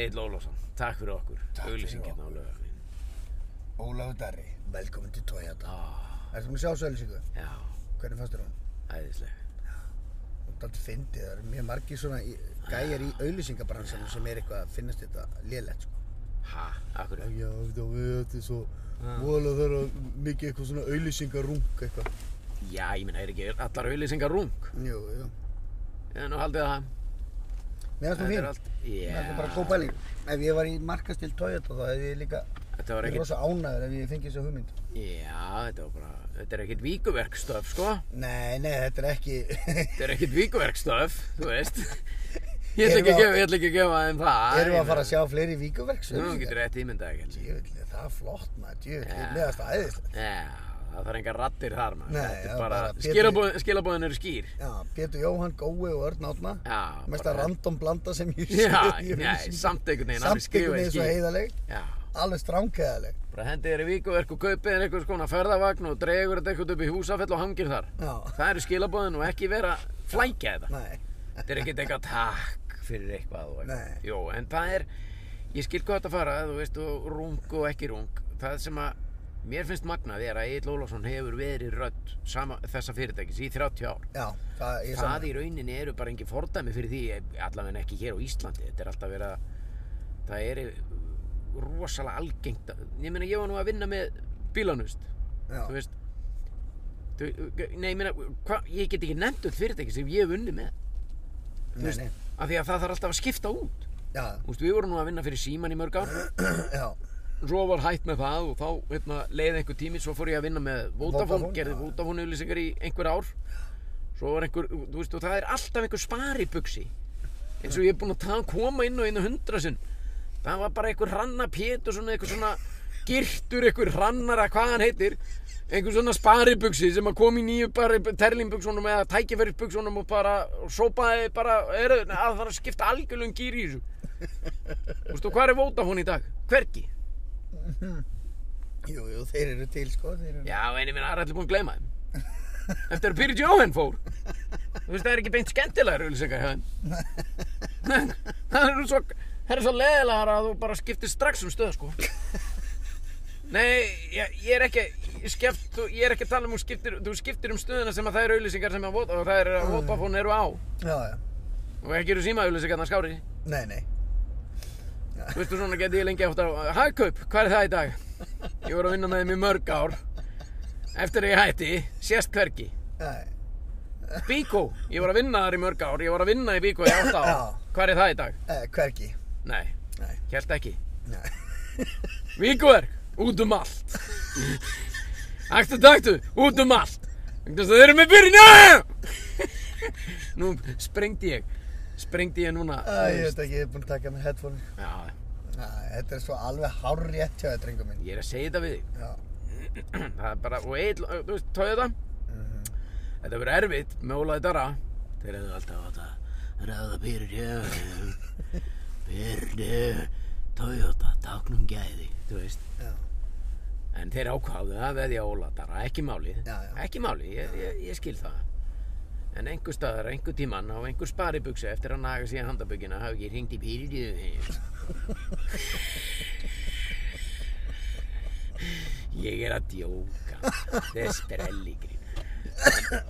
Speaker 1: Egil Ólafsson, takk fyrir okkur
Speaker 2: Takk fyrir
Speaker 1: auglýsingin á
Speaker 2: okkur.
Speaker 1: lögum
Speaker 2: Ólafur Darri, velkomin til Toyota
Speaker 1: ah,
Speaker 2: Ertu mér að sjá sölusíku?
Speaker 1: Já,
Speaker 2: Hvernig fannst þér hún?
Speaker 1: æðisleg
Speaker 2: Það er alltaf fyndið, það eru mjög margir svona í- gæjar í auðlýsingabransanum sem er eitthvað að finnast þetta lélegt sko.
Speaker 1: Ha, akkur
Speaker 2: Já, þá við þetta er svo
Speaker 1: Já.
Speaker 2: voðalega þeirra mikið eitthvað svona auðlýsingarung eitthvað.
Speaker 1: Já, ég meina, er ekki allar auglýsingar rung
Speaker 2: Jú, jú.
Speaker 1: en nú haldið það
Speaker 2: Mér
Speaker 1: Þetta
Speaker 2: finnst
Speaker 1: er
Speaker 2: það fín.
Speaker 1: allt-
Speaker 2: Mér finnst
Speaker 1: Já.
Speaker 2: það um bara góð pæling. Ef ég var í markastil Toyota þá hefði ég líka,
Speaker 1: Þetta var
Speaker 2: ég er
Speaker 1: ekkert
Speaker 2: rosa ánæður ef ég fengi þessa hugmynd.
Speaker 1: Já, þetta var bara, þetta er ekkert víkuverkstöf, sko.
Speaker 2: Nei, nei, þetta er ekki,
Speaker 1: Þetta er ekkert víkuverkstöf, þú veist. Ég ætla ekki að gefa, ég ætla ekki að gefa þeim það.
Speaker 2: erum við að fara að sjá fleiri víkuverks
Speaker 1: Nú getur rétt ímyndað ekki, heldur.
Speaker 2: Jöfnli, það er flott maður, jöfnli,
Speaker 1: Já.
Speaker 2: ja. meðast það æðislegt.
Speaker 1: Já, það þarf engar rattir þar, maður.
Speaker 2: Nei,
Speaker 1: þetta
Speaker 2: það
Speaker 1: er
Speaker 2: er
Speaker 1: bara,
Speaker 2: bara Pétur-
Speaker 1: skilabóðin, skilabóðin eru skýr.
Speaker 2: Já, Pétur Jóhann, Gói og Örn Átna.
Speaker 1: Já,
Speaker 2: Mesta random blanda sem ég sé
Speaker 1: Já,
Speaker 2: í
Speaker 1: nei,
Speaker 2: auglýsingu.
Speaker 1: samt einhvern veginn, hann er
Speaker 2: Samt einhvern
Speaker 1: skrifað
Speaker 2: veginn svo
Speaker 1: skýr.
Speaker 2: heiðaleg
Speaker 1: Já,
Speaker 2: Alveg stránkæðaleg
Speaker 1: bara hendi þér í víkuverk og kaupið þér einhvers konar ferðavagn og dregur þetta eitthvað upp í húsafell og hangir þar.
Speaker 2: Já,
Speaker 1: Það eru skilabóðin og ekki vera að flækja þetta.
Speaker 2: nei
Speaker 1: Þetta er ekkert eitthvað takk fyrir eitthvað og
Speaker 2: Nei.
Speaker 1: eitthvað. Jó, en það er, ég skil hvað þetta fara, þú veist, og rung og ekki rung. Það sem að mér finnst magnað er að Egil Ólafsson hefur verið rödd sama, þessa fyrirtækis í 30 ár.
Speaker 2: Já, það ég
Speaker 1: Það
Speaker 2: saman
Speaker 1: í rauninni eru bara engin fordæmi fyrir því, allavega ekki hér á Íslandi. Þetta er alltaf verið að, það er rosalega algengt. að- Ég meina, ég var nú að vinna með bílanust, þú
Speaker 2: Já,
Speaker 1: veist. Þú, nei, ég meina, hva, ég get ekki nefnt öll fyrirtæki sem ég hef unni með
Speaker 2: nei, nei
Speaker 1: af því að það þarf alltaf að skipta út
Speaker 2: Já,
Speaker 1: Úst, við vorum nú að vinna fyrir síman í mörg ár
Speaker 2: já,
Speaker 1: svo var hætt með það og þá hérna, leiði einhver tími svo fór ég að vinna með Vodafone,
Speaker 2: Vodafone,
Speaker 1: gerði
Speaker 2: já.
Speaker 1: Vodafone auðlýsingar í einhver ár svo var einhver, þú veist, og það er alltaf einhver sparibuxi eins og ég er búinn að ta- koma inn og inn á hundra sinn það var bara einhver ranna pétur svona einhver svona girtur, einhver rannara hvað hann heitir einhver svona sparibuxi sem að kom í nýju bara terlinbuxunum eða tækifærisbuxunum og bara og sópaði bara, er, að það þarf að skipta algjörlum gýr í þessu Þú veist, og hvað er Vodafone í dag? Hvergi?
Speaker 2: jú, jú, þeir eru til sko Þeir eru
Speaker 1: Já, en ég minna, það er allir búin að gleyma þeim Eftir að Birgit Jóhann fór Þú veist, það er ekki beint skemmtilegar auðlýsingar hjá þeim Nei, Það eru svo, það eru svo leðilegar að þú bara skiptir strax um stöð, sko Nei, ég, ég er ekki ég, skept, þú- ég er ekki að tala um þú skiptir, þú skiptir um stöðuna sem að það eru auðlýsingar sem að vota og það eru að Vodafone eru á og
Speaker 2: Já, já,
Speaker 1: ekki eru síma auðlýsingarnar skári
Speaker 2: nei, nei
Speaker 1: Þú veistu svona geti ég lengi eftir á Hagkaup, hvað er það í dag? Ég voru að vinna með þeim í mörg ár Eftir að ég hætti, sést hvergi
Speaker 2: Nei,
Speaker 1: Bíkó, ég var að vinna þar í mörg ár, ég var að vinna í Bíkó í átta ár.
Speaker 2: Já.
Speaker 1: Hvað er það í dag?
Speaker 2: eh, hvergi
Speaker 1: Nei,
Speaker 2: Nei,
Speaker 1: held ekki.
Speaker 2: nei
Speaker 1: Víkóverk, út um allt. Æktu taktu, út um allt. Vegna þess að Þeir eru með byrjun. Nú sprengdi ég, sprengdi ég núna.
Speaker 2: Æ, ég veit ekki, ég er búinn að taka með headphone
Speaker 1: Já,
Speaker 2: Æ, þetta er svo alveg hárrétt hjá þér, drengum minn
Speaker 1: ég er að segja þetta við þig.
Speaker 2: Já,
Speaker 1: Það er bara, og eitt, þú veist, tóðu þetta?
Speaker 2: mhm,
Speaker 1: Þetta verður erfitt með Ólaði Dara. Þeir hefðu alltaf átt að ráða byrju, byrju, Toyota, táknum gæði, þú veist.
Speaker 2: já,
Speaker 1: En þeir ákváðu að veðja á Óla Dara, ekki málið,
Speaker 2: Já, já.
Speaker 1: ekki málið, ég, ég, ég skil það. En einhver staðar, einhver tíman á einhver sparibuksu eftir að naga sig í handabuggina hafi ekki hringt í byrju. Ég er að djóka, þetta er sprelligrín.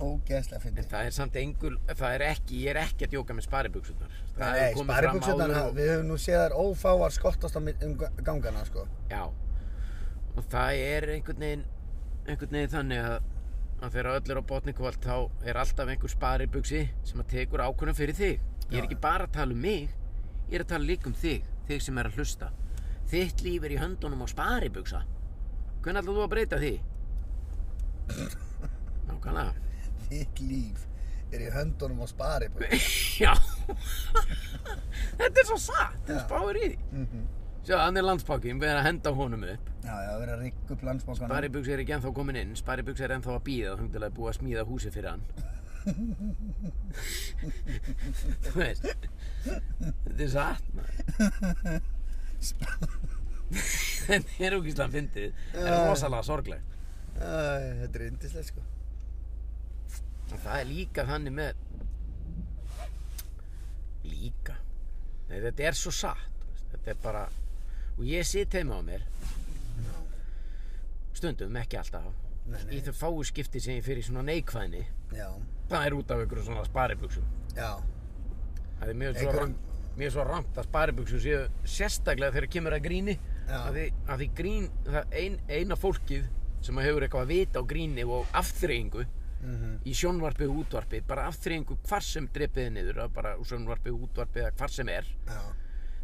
Speaker 2: ógeðslega
Speaker 1: En
Speaker 2: fyndið
Speaker 1: það er samt engul, það er ekki, ég er ekki að djóka með sparibuksunar.
Speaker 2: Nei, sparibuksunar,
Speaker 1: og,
Speaker 2: við höfum nú séð þær ófáar skottast á mi- um ga- gangana, sko
Speaker 1: já, og það er einhvern veginn, einhvern veginn þannig að, að þegar öll er á botni kvöld þá er alltaf einhver sparibuksi sem að tekur ákvörðum fyrir þig. Ég
Speaker 2: Já.
Speaker 1: er ekki bara að tala um mig, ég er að tala líka um þig, þig sem er að hlusta. Þitt líf er í höndunum á sparibuksa. Hvernig ætlaðu þú að breyta því? Nákvæmlega.
Speaker 2: Þitt líf er í höndunum á spari
Speaker 1: Já Þetta er svo satt, þú
Speaker 2: Já.
Speaker 1: spáir í því
Speaker 2: Mhm.
Speaker 1: Sjá, hann er landspákin, við erum að henda honum upp.
Speaker 2: Já, já, það verið að rigga upp landsbókana.
Speaker 1: Sparibugs er ekki enþá komin inn, Sparibugs er enþá að býða þangum til að búa að smíða húsi fyrir hann. Þú veist, þetta er satt maður. Þetta er ógislega fyndið, en
Speaker 2: Já.
Speaker 1: rosalega sorglegt.
Speaker 2: Æ, þetta er yndislegt sko.
Speaker 1: Og það er líka þannig með líka Nei, þetta er svo satt þú veist, þetta er bara og ég sit heima á mér stundum, ekki alltaf
Speaker 2: Nei, nei.
Speaker 1: í þau fáu skipti sem ég fyrir svona neikvæðni
Speaker 2: Já,
Speaker 1: það er út af ykkur svona sparibuxum
Speaker 2: já,
Speaker 1: það er mjög svo,
Speaker 2: Einhverjum-
Speaker 1: rangt, mjög svo rangt að sparibuxum séu sérstaklega þegar kemur að gríni
Speaker 2: Já.
Speaker 1: að því, að því grín það ein, eina fólkið sem hefur eitthvað að vita á gríni og afþreyingu
Speaker 2: mhm,
Speaker 1: í sjónvarpi og útvarpi bara afþreyingu hvar sem drepiði niður eða bara úr sjónvarpi og útvarpi eða hvar sem er
Speaker 2: já,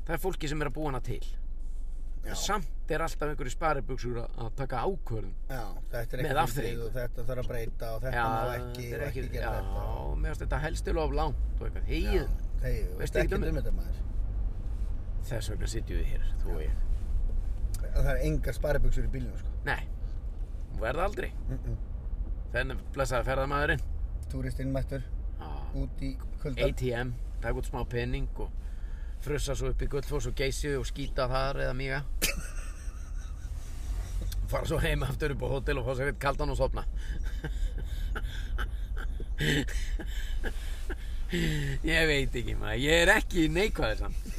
Speaker 1: það er fólki sem er að búa hana til
Speaker 2: já,
Speaker 1: en samt er alltaf einhverju sparibugsur að taka ákvörðum
Speaker 2: já, þetta er
Speaker 1: Með
Speaker 2: ekki
Speaker 1: afþreyingu.
Speaker 2: og þetta þarf að breyta og þetta má ekki,
Speaker 1: þetta er
Speaker 2: og ekki
Speaker 1: já,
Speaker 2: gera þetta.
Speaker 1: mér finnst þetta helst til of langt og eitthvað,
Speaker 2: Já,
Speaker 1: hegið,
Speaker 2: þegiðu, þú
Speaker 1: Veistu
Speaker 2: veist ekki
Speaker 1: ekkert um
Speaker 2: um þetta maður.
Speaker 1: þess vegna sitjum við hér, þú og ég
Speaker 2: Það er engar sparibuxur í bílunum sko.
Speaker 1: nei, hún verða aldrei
Speaker 2: Mm -mm.
Speaker 1: þennan blessaði ferðamaðurinn
Speaker 2: Túristinn mættur
Speaker 1: á
Speaker 2: út í kulda.
Speaker 1: ATM, taka út smá penning og frussa svo upp í gullfoss og geysi og skýta þar eða mýga fara svo heim aftur upp á hótel og fá sér eitt kaldan og sopna ég veit ekki maður, ég er ekki neikvæður samt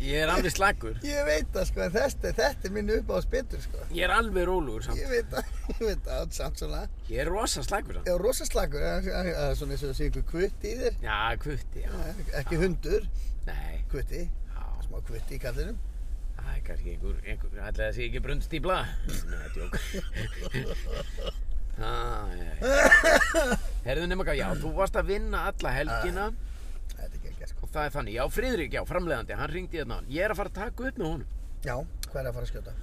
Speaker 1: ég er alveg slagur
Speaker 2: Ég veit það sko, en þetta, þetta er minn upp á spytur sko.
Speaker 1: ég er alveg rólugur samt
Speaker 2: Ég veit það, ég veit það, samt svona.
Speaker 1: ég er rosa slagur samt
Speaker 2: Já, rosaslagur, eh, það er svona eins og það sé ykkur kvitt í þér.
Speaker 1: já, kvutti, já,
Speaker 2: Já, Ekki hundur,
Speaker 1: nei
Speaker 2: kvitti,
Speaker 1: já.
Speaker 2: smá kvitti í kallinum.
Speaker 1: Það er kannski einhver, einhver ætlaði að sé ekki brunnstípla. Nei, djók. ah, já, já. Herðu nema hvað, já, þú varst að vinna alla helgina
Speaker 2: Þetta er ekki ekki sko.
Speaker 1: og það er þannig. Já, Friðrik, já, framleiðandi, hann ringdi hérna. á hann. Ég er að fara að taka upp með honum.
Speaker 2: Já, hvað er að fara að skjóta?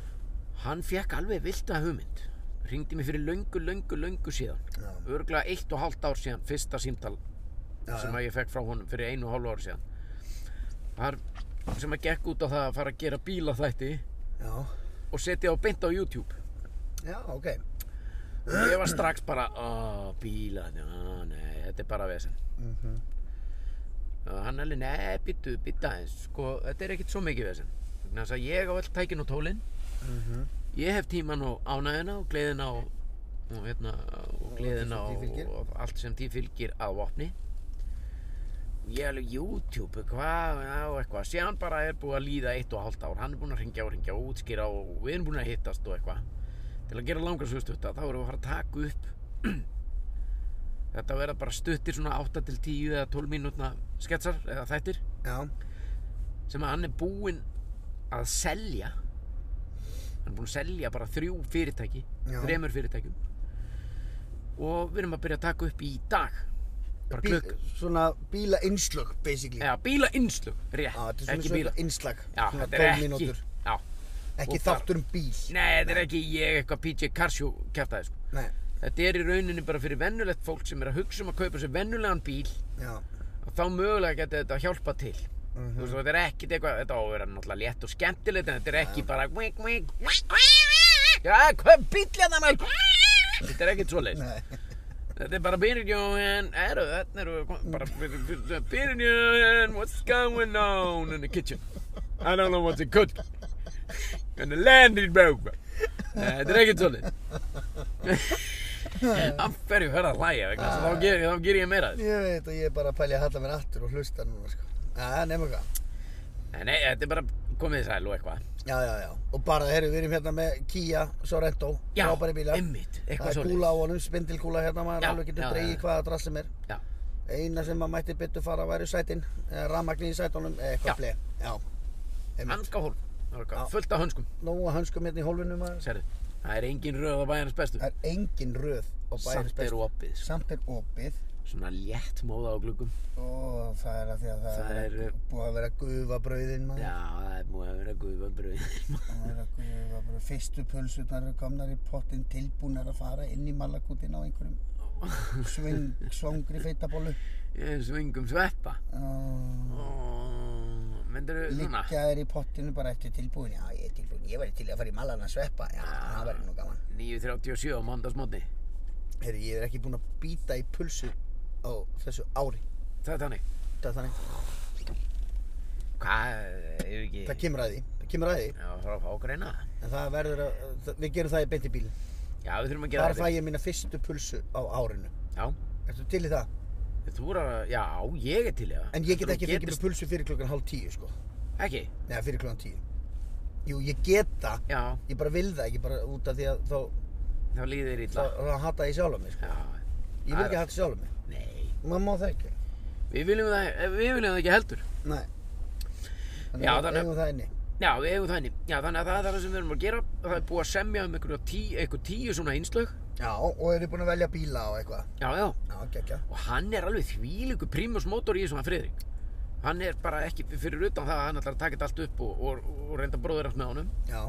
Speaker 1: Hann fekk alveg vilda hugmynd. Ringdi mig fyrir löngu, löngu, löngu síðan.
Speaker 2: Já,
Speaker 1: Örglega eitt og hálft ár síðan, fyrsta símtal
Speaker 2: já,
Speaker 1: sem
Speaker 2: já.
Speaker 1: að ég fekk frá honum fyrir einu og hálfu ári síðan. Þar sem að gekk út á það að fara að gera bílaþætti
Speaker 2: já,
Speaker 1: og setja á beint á YouTube.
Speaker 2: já, ok.
Speaker 1: Og ég var strax bara, ó, bílarni, ó, nei, þetta er bara vesen.
Speaker 2: Mm
Speaker 1: Mhm, Og hann alveg, nei, býttu, býttu aðeins, sko, þetta er ekkert svo mikið vesen. Þannig að þess að ég á öll tækin og tólin,
Speaker 2: -hmm.
Speaker 1: ég hef tíman og ánæðina og gleðina og, og hérna, og gleðina
Speaker 2: allt sem
Speaker 1: og,
Speaker 2: því fylgir.
Speaker 1: og allt sem því fylgir að vopni. Og ég alveg, YouTube, hvað, já, eitthvað, síðan bara er búið að líða eitt og hálft ár, hann er búinn að ringja og ringja og útskýra og við erum búin að hittast og eitthvað. Til að gera langar svo stutta, þá erum við að fara að taka upp Þetta verða bara stuttir svona 8 til 10 eða 12 mínútna sketsar eða þættir
Speaker 2: Já,
Speaker 1: sem að hann er búinn að selja hann er búinn að selja bara þrjú fyrirtæki
Speaker 2: Já.
Speaker 1: þremur fyrirtækjum og við erum að byrja að taka upp í dag bara
Speaker 2: Bí,
Speaker 1: klukk
Speaker 2: svona bíla einslög, basically.
Speaker 1: eða bíla rétt,
Speaker 2: Já, þetta er svona
Speaker 1: ekki
Speaker 2: svona
Speaker 1: bíla
Speaker 2: einslag,
Speaker 1: já,
Speaker 2: svona
Speaker 1: þetta er
Speaker 2: 12
Speaker 1: ekki
Speaker 2: mínútur.
Speaker 1: já.
Speaker 2: Ekki
Speaker 1: Og bara-
Speaker 2: þáttur um bíl.
Speaker 1: nei, þetta er ekki ég eitthvað PJ Karsjó kjartaði sko.
Speaker 2: Nei,
Speaker 1: þetta er í rauninni bara fyrir vennulegt fólk sem er að hugsa um að kaupa sér vennulegan bíl
Speaker 2: já.
Speaker 1: og þá mögulega geti þetta hjálpa til
Speaker 2: Mm
Speaker 1: Þú veist, þetta er ekkert eitthvað, þetta á að vera náttúrulega létt og skemmtilegt en þetta er ekki bara vink, vink, vink, vink Já, hvað bílja það maður? Þetta er ekkert svoleiðis.
Speaker 2: Nei,
Speaker 1: Þetta er bara Byrjón, eru, þetta eru, kom- bara Byrjón, what's going on in the kitchen? I don't know what's it cooked. Gonna land it broke. Nei, þetta er ekkert svoleiðis. Af hverju hörðu að hlæja, vegna þess að þá ger, þá ger ég meira af þessu.
Speaker 2: ég veit að ég er bara að pælja að halla mér aftur og hlusta núna, sko. Já, nema hvað.
Speaker 1: Nei, nei, þetta er bara komið sæl og eitthvað.
Speaker 2: Já, já, já. Og bara, herru, við erum hérna með Kia Sorento,
Speaker 1: Já,
Speaker 2: frábæri bílar.
Speaker 1: einmitt,
Speaker 2: Það
Speaker 1: eitthvað
Speaker 2: er
Speaker 1: svoleiðis.
Speaker 2: kúla á honum, spindilkúla hérna, maður
Speaker 1: Já,
Speaker 2: alveg getur
Speaker 1: já,
Speaker 2: dreigið
Speaker 1: já.
Speaker 2: hvaða drass sem er.
Speaker 1: Já.
Speaker 2: Eina sem maður mætti betur fara væri sætin, rammagni í sætunum, eða
Speaker 1: Já.
Speaker 2: eitthvað bleið. Já. Einmitt.
Speaker 1: Hanskahólf, það var
Speaker 2: Já.
Speaker 1: eitthvað, fullt af hönskum,
Speaker 2: Nó að hanskum hérna í hólfinu maður.
Speaker 1: sérðu. Það er engin röð á bæjarnas bestu.
Speaker 2: Það er engin röð og bæris
Speaker 1: Samt er opið, sko.
Speaker 2: Samt er opið
Speaker 1: svona létt móða á gluggum.
Speaker 2: og það er að því að það,
Speaker 1: Það
Speaker 2: er
Speaker 1: er-
Speaker 2: búið að vera gufa brauðin maður.
Speaker 1: Já, það er múið að vera gufa bröð.
Speaker 2: Það er að gufa brauð. Fyrstu pulsutnar eru komnar í pottin tilbúnar að fara inn í malakútin á einhverjum sving, svongri feitabólu.
Speaker 1: um Ég er svingum sveppa.
Speaker 2: Uh,
Speaker 1: Ó, myndirðu núna?
Speaker 2: Liggja þér í pottinu bara eftir tilbúin. Já, ég er tilbúin. Ég væri til í að fara í malan að sveppa. Já, það væri nú gaman.
Speaker 1: 9.37 á mándagsmótni.
Speaker 2: Herri, ég er ekki búinn að býta í pulsu á þessu ári.
Speaker 1: Það er þannig.
Speaker 2: Það er þannig.
Speaker 1: Hvað, er ekki...
Speaker 2: Það kemur að því. Það kemur að því.
Speaker 1: Já, það er að fá okkur eina.
Speaker 2: En það verður að, það- við gerum það í beinti bílinn.
Speaker 1: Já, við þurfum að gera
Speaker 2: Þar fæ ég mína fyrstu pulsu á árinu.
Speaker 1: Já,
Speaker 2: Ertu til í það?
Speaker 1: þú er að... Já, ég er til í það.
Speaker 2: En ég get
Speaker 1: Þú
Speaker 2: ekki fengið mér
Speaker 1: getur-
Speaker 2: pulsu fyrir klokkan hálf tíu, sko.
Speaker 1: Ekki?
Speaker 2: Nei, fyrir klokkan tíu. Jú, ég get það.
Speaker 1: Já,
Speaker 2: Ég bara vil það ekki bara út af því að þá,
Speaker 1: þá líður þér
Speaker 2: þá,
Speaker 1: illa.
Speaker 2: þá hata ég sjálf á mig, sko.
Speaker 1: Já,
Speaker 2: Ég vil ekki hata sjálf á mig.
Speaker 1: nei.
Speaker 2: Maður má það ekki.
Speaker 1: Við viljum það, eh, við viljum það ekki heldur.
Speaker 2: Nei. Þannig
Speaker 1: Já,
Speaker 2: að
Speaker 1: þannig-
Speaker 2: eigum það inni.
Speaker 1: Já, við eigum það inni. Já, þannig að það er það sem við erum að gera. Það er búið að semja um einhverju tí, einhver tíu svona einslög.
Speaker 2: Já, og eru búin að velja bíla og eitthvað.
Speaker 1: Já, já.
Speaker 2: Já, gekkja.
Speaker 1: Og hann er alveg þvílíku primus motor í þessum að Friðrik. Hann er bara ekki fyrir utan það að hann ætlar að taka þetta allt upp og, og, og reynda bróður allt með honum.
Speaker 2: Já.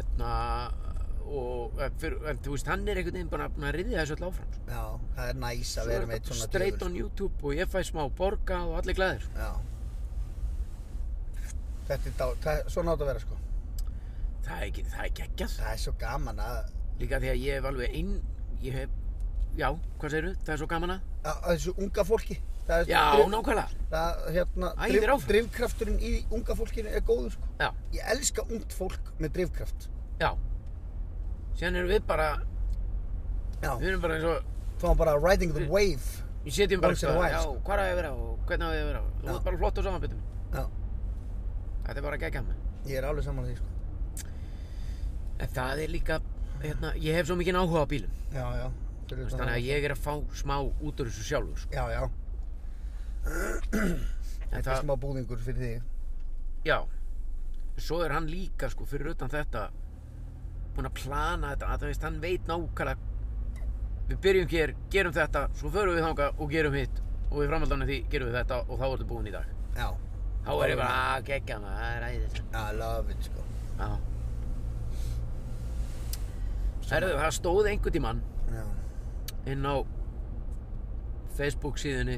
Speaker 1: Etna, og, eh, fyrir, en þú veist, hann er einhvern veginn bara búinn að riðja þessu öll áfram. sko.
Speaker 2: Já, það er næs að
Speaker 1: Svo
Speaker 2: vera
Speaker 1: er
Speaker 2: með eitt
Speaker 1: þetta
Speaker 2: svona
Speaker 1: straight
Speaker 2: djöful,
Speaker 1: on YouTube og ég fæ smá borga og allir glæðir.
Speaker 2: sko. Já. Þetta er dá, það, svona átt að vera, sko.
Speaker 1: Það er ekki, það er geggjað.
Speaker 2: Það er svo gaman að,
Speaker 1: Líka því að ég hef alveg einn, ég hef, já, hvað segirðu? Það er svo gaman að?
Speaker 2: að, að þessu unga fólki. Það er
Speaker 1: Já,
Speaker 2: drif-
Speaker 1: nákvæmlega.
Speaker 2: Það, hérna,
Speaker 1: Æðir
Speaker 2: drif,
Speaker 1: áfram.
Speaker 2: drifkrafturinn í unga fólkinu er góður, sko.
Speaker 1: Já,
Speaker 2: Ég elska ungt fólk með drifkraft.
Speaker 1: já. Síðan erum við bara,
Speaker 2: Já.
Speaker 1: við erum bara eins og,
Speaker 2: Fáum bara riding the wave.
Speaker 1: við setjum bara,
Speaker 2: Once in a
Speaker 1: eitthvað,
Speaker 2: while,
Speaker 1: já,
Speaker 2: sko.
Speaker 1: hvað á ég að vera og hvernig á ég að vera? Þú
Speaker 2: Já.
Speaker 1: ert bara flott og samanbyttum.
Speaker 2: Já.
Speaker 1: Þetta er bara geggjað með.
Speaker 2: Ég er alveg saman að því, sko.
Speaker 1: En það er líka, hérna, ég hef svo mikinn áhuga á bílum.
Speaker 2: Já, já. fyrir
Speaker 1: þú veist,
Speaker 2: utan
Speaker 1: Þannig
Speaker 2: það.
Speaker 1: að ég er að fá smá út úr þessu sjálfur, sko.
Speaker 2: Já, já.
Speaker 1: En
Speaker 2: Þetta er smá búðingur fyrir þig.
Speaker 1: já. Svo er hann líka, sko, fyrir utan þetta, búinn að plana þetta, að þú veist, hann veit nákvæmlega við byrjum hér, gerum þetta, svo förum við þangað og gerum hitt og við framhaldanum því gerum við þetta og þá ertu búinn í dag.
Speaker 2: Já.
Speaker 1: Þá er ég bara, að geggja hana, það er æðið.
Speaker 2: I love it, sko.
Speaker 1: Já. Herðu, það stóð einhvern tímann
Speaker 2: Já.
Speaker 1: inn á Facebook síðunni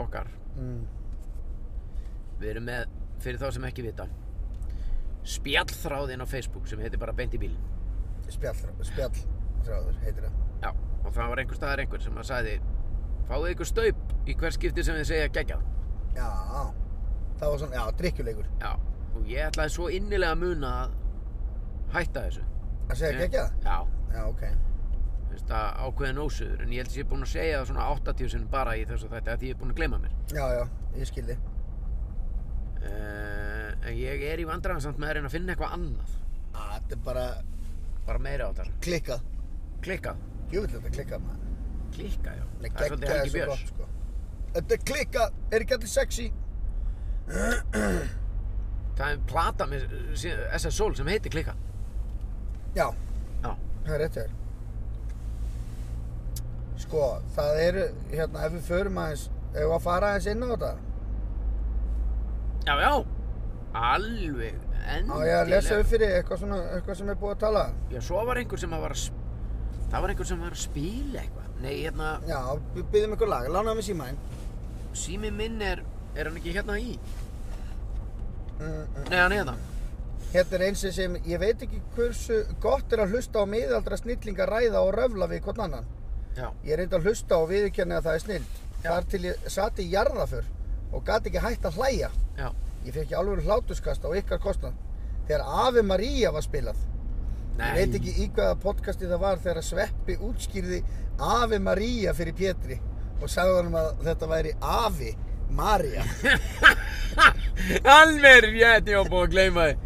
Speaker 1: okkar.
Speaker 2: Mm.
Speaker 1: Við erum með, fyrir þá sem ekki vita, spjallþráðinn á Facebook sem heitir bara Beint í bílinn.
Speaker 2: Spjall, spjall, þráður, heitir það.
Speaker 1: Já, og það var einhver staðar einhver sem að sagði, fáðu ykkur staup í hver skipti sem þið segja geggjað.
Speaker 2: Já. Það var svona, já, drikkjuleikur.
Speaker 1: Já, og ég ætlaði svo innilega að muna að hætta þessu.
Speaker 2: Að segja ekki ekki það?
Speaker 1: Já,
Speaker 2: Já, ok.
Speaker 1: þú veist að ákveðin ósuður, en ég held að ég er búinn að segja það svona 80 sinni bara í þessu þetta, að ég er búinn að gleyma mér.
Speaker 2: Já, já, ég skildi.
Speaker 1: Uh, en ég er í vandræðan samt með að reyna að finna eitthvað annað,
Speaker 2: Á, Þetta er bara
Speaker 1: bara meira á þar.
Speaker 2: klikkað.
Speaker 1: Klikkað,
Speaker 2: Ég vil þetta klikkað, maður.
Speaker 1: klikkað, já.
Speaker 2: Nei,
Speaker 1: það er svolítið
Speaker 2: geggjað er
Speaker 1: Helgi
Speaker 2: svo
Speaker 1: Björns.
Speaker 2: gott, sko. Þetta er klikkað, er ekki allir sexy?
Speaker 1: Það er plata með sí- SS Soul sem heitir klikkað.
Speaker 2: Já,
Speaker 1: Já,
Speaker 2: það er rétt hjá þér. Sko, það eru, hérna, ef við förum aðeins, ef við að fara aðeins inn á þetta.
Speaker 1: já, já. Alveg,
Speaker 2: Á,
Speaker 1: endilega.
Speaker 2: ég að lesa upp fyrir þig eitthvað svona, eitthvað sem er búið að tala.
Speaker 1: Já, svo var einhver sem að var að, sp- það var einhver sem var að spila eitthvað. Nei, hérna,
Speaker 2: Já, við byggjum ykkur lag, lánaðu mig símaðinn.
Speaker 1: sími minn er, er hann ekki hérna í?
Speaker 2: Mm, mm.
Speaker 1: Nei, hann er hérna.
Speaker 2: Hérna er eins og sem, ég veit ekki hversu gott er að hlusta á miðaldra snillinga ræða og röfla við hvern annan.
Speaker 1: Já,
Speaker 2: Ég reyndi að hlusta og viðurkenni að það er snild.
Speaker 1: Já.
Speaker 2: Þar til ég sat í jarðaför og gat ekki hægt að hlæja.
Speaker 1: já,
Speaker 2: Ég fekk ekki alveg hlátuskast á ykkar kostnað. Þegar Ave Maria var spilað.
Speaker 1: nei.
Speaker 2: Ég veit ekki í hvaða podcasti það var þegar Sveppi útskýrði Ave Maria fyrir Pétri og sagði honum að þetta væri Avi Maria.
Speaker 1: Alveg rétt, hérna, ég var búinn að gleyma þið.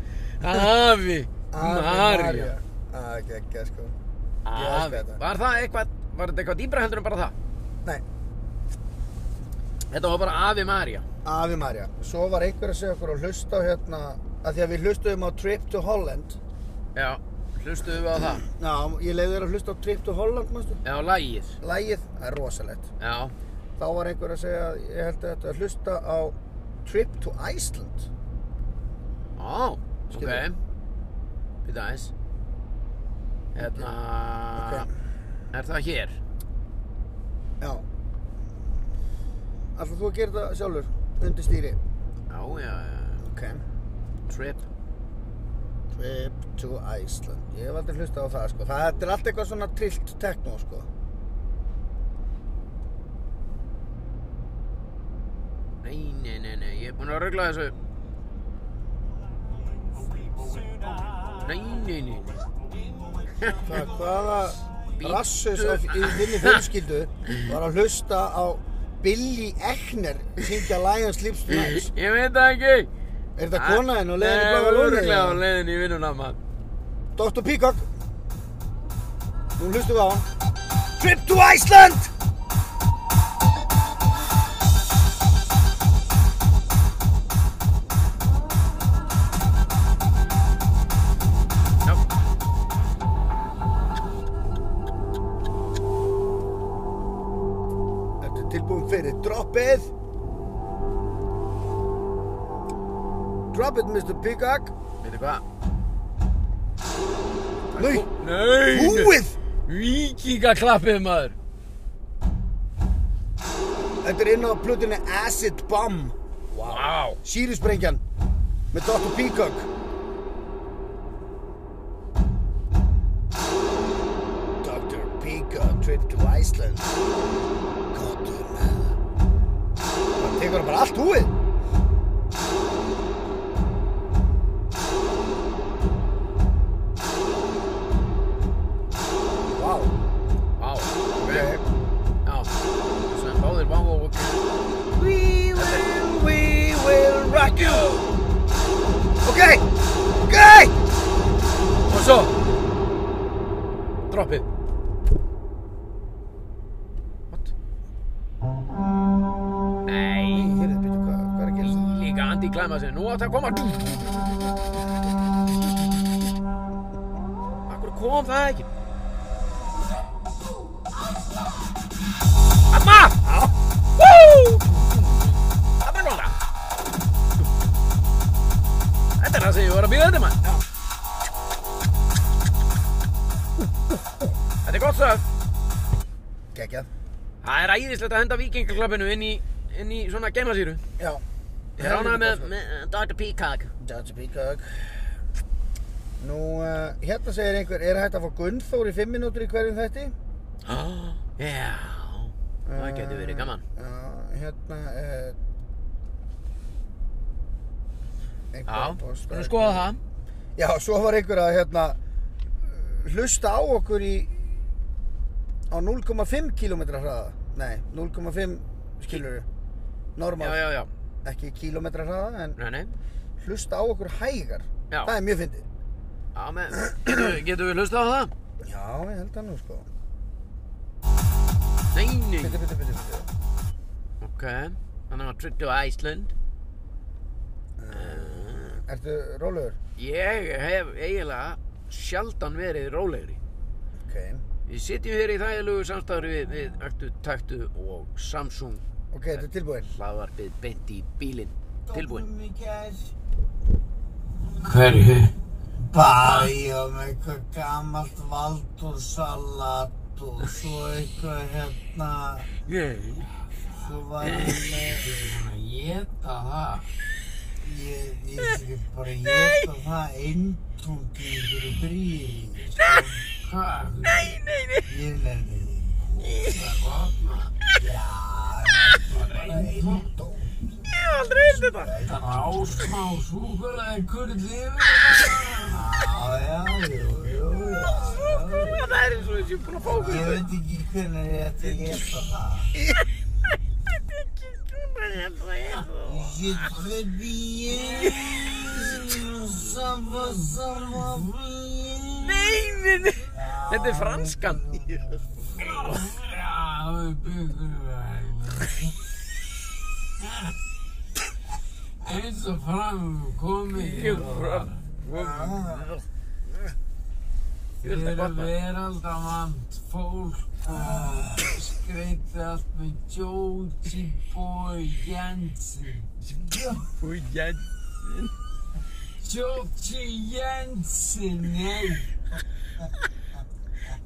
Speaker 1: Afi, Marja.
Speaker 2: Það er ekki ekki, sko. Ég elska
Speaker 1: Afi,
Speaker 2: þetta.
Speaker 1: var það eitthvað, var þetta eitthvað dýbra heldur en bara það?
Speaker 2: Nei,
Speaker 1: Þetta var bara Afi Marja.
Speaker 2: Afi Maria. Svo var einhver að segja okkur að hlusta á hérna, að því að við hlustuðum á Trip to Holland.
Speaker 1: Já, hlustuðu við á það?
Speaker 2: Já, ég leiði þér að hlusta á Trip to Holland, mástu?
Speaker 1: Já, lægið.
Speaker 2: Lægið, það er rosalegt.
Speaker 1: Já,
Speaker 2: Þá var einhver að segja, að ég held að þetta að hlusta á Trip to Iceland.
Speaker 1: Ó, ok
Speaker 2: Skilur.
Speaker 1: Býta aðeins Hérna
Speaker 2: Ok.
Speaker 1: Er það hér?
Speaker 2: Já. Ætlar þú að gera þetta sjálfur, undir stýri?
Speaker 1: Já, já, já.
Speaker 2: Ok.
Speaker 1: Trip.
Speaker 2: Trip to Iceland. Ég hef aldrei hlustað á það, sko. Það þetta er allt eitthvað svona trillt techno, sko.
Speaker 1: Nei, nei, nei, nei, ég er búinn að rögla þessu. Nei, nei, nei.
Speaker 2: Hvað, hvaða
Speaker 1: Bíddu.
Speaker 2: rassus af í þinni fjölskyldu var að hlusta á Billy Eckner syngja Lion Sleeps Tonight?
Speaker 1: Ég veit það ekki.
Speaker 2: Er þetta konaðinn og leiðin í
Speaker 1: Nei,
Speaker 2: bláa lónið?
Speaker 1: Ah, örugglega á leiðin í vinnuna, mann.
Speaker 2: Dr. Peacock Nú hlustum við á hann. Trip to Iceland
Speaker 1: Já.
Speaker 2: Ertu tilbúin fyrir droppið Drop it Mr. Peacock
Speaker 1: Veitu hvað?
Speaker 2: Nei,
Speaker 1: Nei.
Speaker 2: búið
Speaker 1: Víkingaklappið, maður.
Speaker 2: Þetta er inn á plötunni Acid Bomb
Speaker 1: Vá.
Speaker 2: Sýrisprengjan með Dr. Peacock Dr. Peacock trip to Iceland Godur með Það tekur hann bara allt húið Vá,
Speaker 1: Vá.
Speaker 2: ok
Speaker 1: Já. Svo en báðir vá og ok.
Speaker 2: We will, we will rock you Ok, ok
Speaker 1: Og svo. Droppið. What? Nei.
Speaker 2: Heyrðu, býttu, hvað, hvað er að gerast?
Speaker 1: Líka anti-klima sem nú átt að koma Akkur kom það ekki Amma! Já? Woo! Amma núna Þetta er það sem ég var að býða þetta mann Já Þetta er gott stöf
Speaker 2: Gekjað.
Speaker 1: Það er æðislegt að henda vikingaklappinu inn í, inn í svona geimasýru
Speaker 2: Já.
Speaker 1: Ég er ánægð með, með uh, Dr. Peacock
Speaker 2: Judge Peacock. Nú, uh, hérna segir einhver, er hægt að fá Gunnþór í fimm mínútur í hverjum þætti?
Speaker 1: Já, það getur verið gaman.
Speaker 2: Eh, Já, hérna, uh,
Speaker 1: Já,
Speaker 2: postaði-
Speaker 1: við skoðum það.
Speaker 2: Já, svo var einhver að, hérna, hlusta á okkur í, á 0,5 km hraða. Nei, 0,5 skilur
Speaker 1: Já,
Speaker 2: normal,
Speaker 1: já, já.
Speaker 2: ekki kilometra hraða, en
Speaker 1: Nei, nei.
Speaker 2: hlusta á okkur hægar.
Speaker 1: Já.
Speaker 2: Það er mjög fyndið.
Speaker 1: Já, menn, getur, getur við hlustað á það?
Speaker 2: Já, ég held það nú sko.
Speaker 1: Nei, nei.
Speaker 2: Bitti, bitti, bitti, bitti.
Speaker 1: Ok, þannig að trip to Iceland.
Speaker 2: Ertu rólegur?
Speaker 1: Ég hef eiginlega sjaldan verið rólegri.
Speaker 2: Ok.
Speaker 1: Við sitjum hér í þægilegu samstafri við, við Aktu, Taktu og Samsung
Speaker 2: Ok, þetta er tilbúinn.
Speaker 1: hlaðvarpið beint í bílinn. Tilbúinn.
Speaker 2: Hverju? Bæ og með eitthvað gammalt valdúrsalat og svo eitthvað hérna,
Speaker 1: Ég
Speaker 2: svo var hann með,
Speaker 1: er að geta það.
Speaker 2: ég, ég sé bara geta það eintungi ykkur og bríði,
Speaker 1: Hvað? Nei, nei, nei.
Speaker 2: ég lærði því.
Speaker 1: Ég hef aldrei hildið þetta.
Speaker 4: Ásmá, súkulega, hvernig lifir
Speaker 2: Já, já, jú, jú, já.
Speaker 1: Það er eins og þessi búin að fá okkur
Speaker 2: Ég veit ekki hvernig ég ætti að geta það. Ég trefði ég, sama, sama,
Speaker 1: Nei, nei, nei Þetta er franskan
Speaker 4: það byggurverð? Eins og fram komið
Speaker 1: Ég vil það
Speaker 4: Fyrir
Speaker 1: gott maður
Speaker 4: veraldamant fólk
Speaker 1: eh,
Speaker 4: og skreyti allt með Jóti Bói Jensen.
Speaker 1: Új, ég
Speaker 4: Jóti Jensen, nei!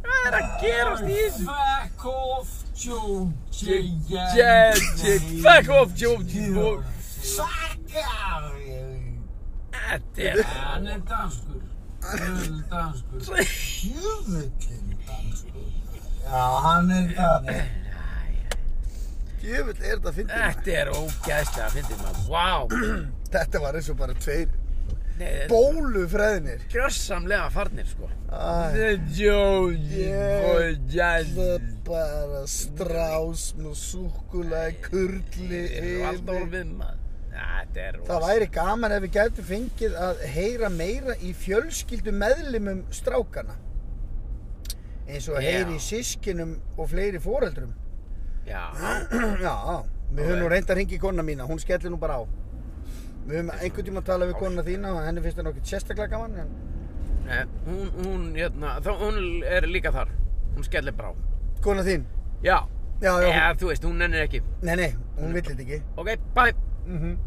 Speaker 1: Hvað er að gerast í þessu?
Speaker 4: Fuck off, Jóti Jensen!
Speaker 1: Jætti, fuck off, Jóti
Speaker 4: Fuck Já, ég...
Speaker 1: Þetta er...
Speaker 4: Hann er danskur. Jöðl danskur. Jöðlinn danskur. Já, hann er danskur.
Speaker 2: Jöfull er þetta að fyndi maður.
Speaker 1: Þetta er ógæðslega að fyndið maður. Vá!
Speaker 2: Þetta var eins og bara tveir
Speaker 1: Nei, þetta er
Speaker 2: bólufræðinir.
Speaker 1: gjörsamlega farnir, sko.
Speaker 2: Æ,
Speaker 1: Jóni
Speaker 2: og
Speaker 1: Jæði.
Speaker 2: það bara strás með súkulega kurli
Speaker 1: Valdór
Speaker 2: yfir.
Speaker 1: við maður. Þetta er
Speaker 2: Það væri gaman ef við gætum fengið að heyra meira í fjölskyldu meðlimum strákana. Eins og að
Speaker 1: Já.
Speaker 2: heyra í sískinum og fleiri foreldrum.
Speaker 1: Já,
Speaker 2: Já, við höfum nú
Speaker 1: Ok.
Speaker 2: reynd að ringa í konuna mína, hún skellir nú bara á. Við höfum einhvern tíma að tala við konuna þína og henni finnst það nokkið sérstaklega gaman. En...
Speaker 1: Nei, hún, hún, hérna, þá, hún er líka þar. Hún skellir brá.
Speaker 2: Kona þín?
Speaker 1: Já. Mm.
Speaker 2: Já, já,
Speaker 1: Eða,
Speaker 2: hún...
Speaker 1: þú veist, hún nennir ekki.
Speaker 2: nei, nei, hún vill þetta ekki.
Speaker 1: Ok, bye.
Speaker 2: Mm
Speaker 1: Mhm.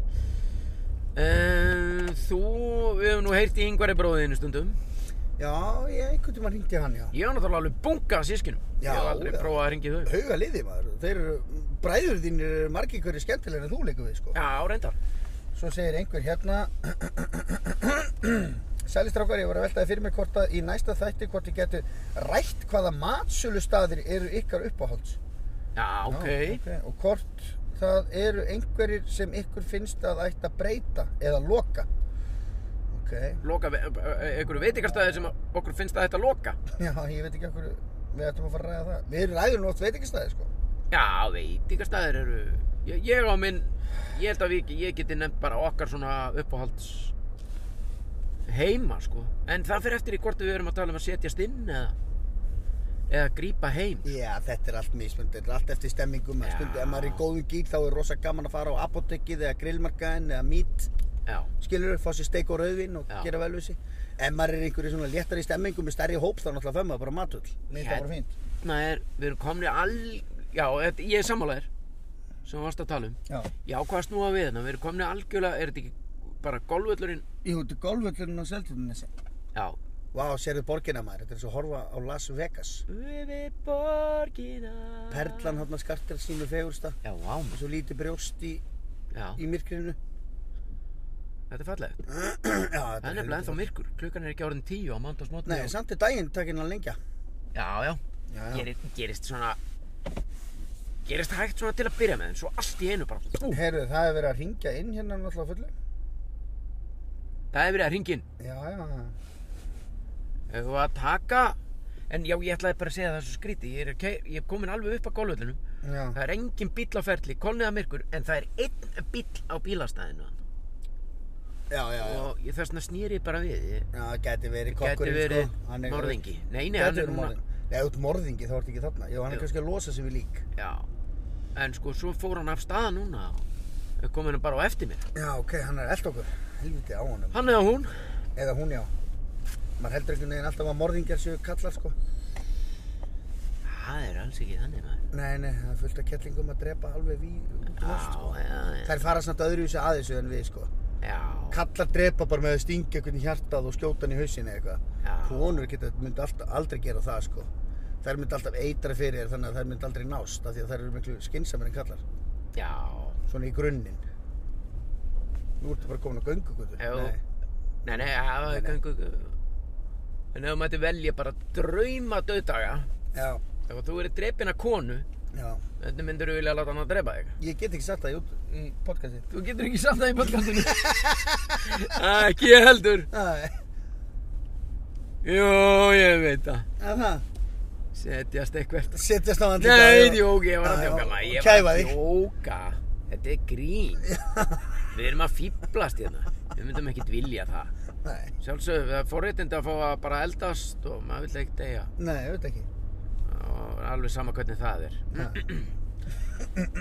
Speaker 1: Uh, þú, við hefum nú heyrt í yngvari bróðinu stundum.
Speaker 2: Já, ég einhvern tíma hringdi hann, já.
Speaker 1: Ég var náttúrulega alveg bunkað að sískinum.
Speaker 2: Já,
Speaker 1: Ég hef aldrei
Speaker 2: já.
Speaker 1: prófað að ringi þau.
Speaker 2: Hauga liði maður, þeir eru, bræður þínir eru margir hverju skemmtilegir en þú leikur við, sko.
Speaker 1: Já, reyndar.
Speaker 2: Svo segir einhver hérna Sælistrákar, ég var að veltaði fyrir mig hvort að í næsta þætti hvort ég geti rætt hvaða matsölu staðir eru ykkar uppáhalds.
Speaker 1: Já, ok.
Speaker 2: Já, Og hvort það eru einhverjir sem ykkur finnst að ætti að breyta eða loka. Ok,
Speaker 1: Loka, ve- ö- ö- einhverju veitingarstæði sem okkur finnst að þetta loka.
Speaker 2: já, ég veit ekki okkur, við ættum að fara að ræða það. Við ræðum nú oft veitingastæði, sko.
Speaker 1: Já, veitingarstæðir eru... Ég, ég á minn... Ég held að við, ég geti nefnt bara okkar svona uppáhalds heima, sko. En það fyrir eftir í hvort við erum að tala um að setjast inn eða... Eða grípa heim.
Speaker 2: Já, þetta er allt mismund, þetta er allt eftir stemmingum.
Speaker 1: Já.
Speaker 2: Stundum, ef maður er í góðum gýr þá er rosa gaman að fara á apotekið eða grillmarkaðinn eða mít,
Speaker 1: Já.
Speaker 2: skilur fá sér steik og rauðvin og
Speaker 1: Já.
Speaker 2: gera vel við sig. Ef maður er í einhverju svona léttari stemmingu með stærri hóp þá náttúrulega fær maður bara matull. Mér finnst það bara fínt.
Speaker 1: Þarna er, við erum komni all... Já, þetta, ég er sammálaðir. Sem við varst að tala um.
Speaker 2: Já.
Speaker 1: Já, hvað snúa við hérna? Við erum komni algjörlega... Er þetta ekki bara golfvöllurinn?
Speaker 2: Jú, þetta er golfvöllurinn á Seltjarnanesi.
Speaker 1: Já.
Speaker 2: Vá, sérðu borgina maður, þetta er eins og að horfa á Las Vegas.
Speaker 1: Við borgina...
Speaker 2: Perlan hann að skartar sínu fegursta,
Speaker 1: Já, vá, maður.
Speaker 2: eins og lítið brjóst í,
Speaker 1: Já,
Speaker 2: í myrkrinu.
Speaker 1: þetta er fallegt.
Speaker 2: Já,
Speaker 1: Það er nefnilega ennþá myrkur, klukkan er ekki orðin tíu á mándagsmótni
Speaker 2: Nei, samt er daginn takinn að lengja.
Speaker 1: Já, já,
Speaker 2: Já,
Speaker 1: Gerist, gerist svona Gerist hægt svona til að byrja með en svo allt í einu bara ú,
Speaker 2: Herru, það hefur verið að ringja inn hérna náttúrulega fullu.
Speaker 1: Það er verið að ringin
Speaker 2: Já, já, já.
Speaker 1: Ef við að taka En já, ég ætlaði bara að segja það svo skríti Ég er, að key- ég er komin alveg upp á golföllunum
Speaker 2: Já,
Speaker 1: Það er engin bíll á ferli, kolniða myrkur En það er einn bíll á bílastæðinu
Speaker 2: já, já. já.
Speaker 1: Og ég þess vegna snýri bara við Ég
Speaker 2: Já, það gæti verið
Speaker 1: Gæti
Speaker 2: kokkurinn,
Speaker 1: verið
Speaker 2: sko. Hann er-
Speaker 1: morðingi Nei, nei,
Speaker 2: Gæti
Speaker 1: hann er
Speaker 2: verið
Speaker 1: núna
Speaker 2: morðingi. Nei, út morðingi þá ertu ekki þarna. Jú, hann er
Speaker 1: Jú.
Speaker 2: kannski að losa sig við lík.
Speaker 1: Já, en sko, svo fór hann af staða núna og Komin hann bara á eftir mér
Speaker 2: Já, ok, hann er eld okkur. Helviti á honum.
Speaker 1: Hann eða hún
Speaker 2: Eða hún, já. Maður heldur einhvern veginn alltaf að morðingjar séu kallar, sko.
Speaker 1: Það er alls ekki þannig maður
Speaker 2: Nei, nei, það er fullt af kettlingum að drepa alveg við út um allt, sko.
Speaker 1: Já, já, já.
Speaker 2: Þær fara samt öðruvísi að þessu en við, sko.
Speaker 1: Já,
Speaker 2: Kallar drepa bara með að stinga einhvern í hjartað og skjóta hann í hausin eða eitthvað.
Speaker 1: Já.
Speaker 2: Konur geta, myndi alltaf, aldrei gera það, sko. Þær myndi alltaf eitra fyrir þér þannig að þær myndi aldrei nást af því að þær eru miklu skinsamir en kallar.
Speaker 1: já
Speaker 2: Svona í grunninn. Nú ertu bara komin á göngugutu.
Speaker 1: Ef þú- Nei, nei, það
Speaker 2: Nei,
Speaker 1: er
Speaker 2: nei.
Speaker 1: gangu En ef þú mætti velja bara drauma döðdaga
Speaker 2: Já,
Speaker 1: Ef þú verið drepin að konu
Speaker 2: já.
Speaker 1: Hvernig myndir þú vilja láta hann að drepa þig?
Speaker 2: Ég get ekki sagt það í, út- í
Speaker 1: Mm.
Speaker 2: podcastið.
Speaker 1: Þú getur ekki samt það í podcastinu Ekki ég heldur
Speaker 2: Æ,
Speaker 1: Jú, ég veit það
Speaker 2: að það?
Speaker 1: Setjast eitthvert
Speaker 2: Setjast á hann til
Speaker 1: Nei,
Speaker 2: dagar.
Speaker 1: djók, ég var að
Speaker 2: Já, já,
Speaker 1: djóka maður Ég var
Speaker 2: Kæfa
Speaker 1: að
Speaker 2: þig.
Speaker 1: djóka Þetta er grín Við erum að fýblast hérna Við myndum ekkert vilja það
Speaker 2: Nei,
Speaker 1: Sjálfsögðu, það er forréttindi að fá að bara eldast og maður vill ekkert deyja
Speaker 2: nei, ég veit ekki.
Speaker 1: og alveg sama hvernig það er
Speaker 2: Ha.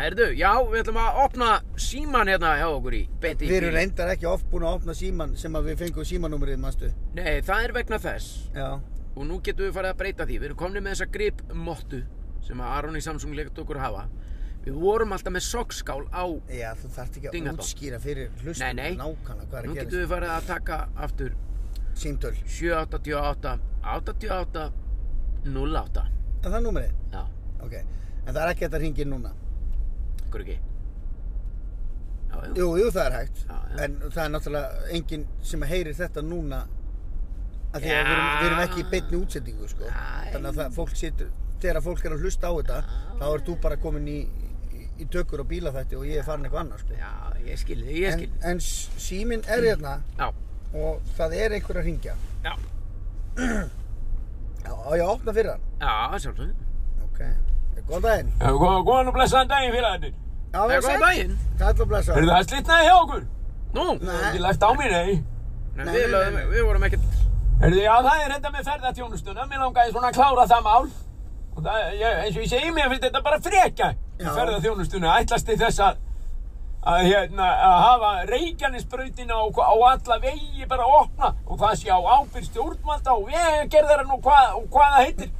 Speaker 1: Herðu, já, við ætlum að opna síman hérna hjá okkur í beinti í
Speaker 2: Við erum
Speaker 1: bíl.
Speaker 2: reyndar ekki oft búin að opna síman sem að við fengum símanúmerið, manstu?
Speaker 1: Nei, það er vegna þess
Speaker 2: Já.
Speaker 1: og nú getum við farið að breyta því við erum komni með þessa gripmottu sem að Aron í Samsung leikt okkur hafa við vorum alltaf með sokkskál á nú
Speaker 2: Já, þú þarft ekki að
Speaker 1: Dingadong.
Speaker 2: útskýra fyrir hlustum
Speaker 1: Nei, nei.
Speaker 2: nákvæmlega hvað er að
Speaker 1: getum
Speaker 2: gera.
Speaker 1: við farið að taka aftur
Speaker 2: Símtöl.
Speaker 1: 788 88 08
Speaker 2: En það er númerið?
Speaker 1: Já,
Speaker 2: Ok. En það er ekki hægt að þetta ringið núna.
Speaker 1: okkur ekki já, já.
Speaker 2: Jú, jú, það er hægt.
Speaker 1: Já, já.
Speaker 2: En það er náttúrulega enginn sem heyrir þetta núna af því
Speaker 1: Já.
Speaker 2: að við erum, við erum ekki í beinni útsendingu, sko.
Speaker 1: Æ.
Speaker 2: Þannig að það, fólk situr, þegar fólk er að hlusta á þetta, þá ert þú bara komin í, í, í tökur á bílafætti og ég er farin eitthvað annað, sko.
Speaker 1: já, ég skil þig, ég
Speaker 2: En,
Speaker 1: skil þig.
Speaker 2: en s- síminn er hérna
Speaker 1: Já,
Speaker 2: og það er einhver að ringja.
Speaker 1: já,
Speaker 2: Já, á ég að opna fyrir hann.
Speaker 1: já, sjálfsög.
Speaker 2: Ok. Góðan daginn.
Speaker 5: Já, góðan góðan og blessaðan daginn félagarnir.
Speaker 2: Já,
Speaker 1: Það er góð daginn.
Speaker 2: Kall og blessa.
Speaker 5: Heyrðu það slitnaði hjá okkur?
Speaker 1: Nú,
Speaker 5: Það
Speaker 2: Nei.
Speaker 5: er ekki læft á mér, nei.
Speaker 1: Nei,
Speaker 2: Nei,
Speaker 1: við,
Speaker 2: nei,
Speaker 1: lögðum,
Speaker 2: nei.
Speaker 1: við vorum ekkert,
Speaker 5: Heyrðu, já það er þetta með ferðartjónustuna, mér langaði svona að klára það mál. Og það, ég, eins og ég segi, mér finnst þetta bara frekja í
Speaker 2: Já.
Speaker 5: ferðartjónustuna. Ætlasti þess að, að, hérna, að hafa reikjanisbrautina og, og alla vegi bara að opna og það sé á ábyrð stjórnvalda og vegagerðarann og, hvað, og hvað það heitir.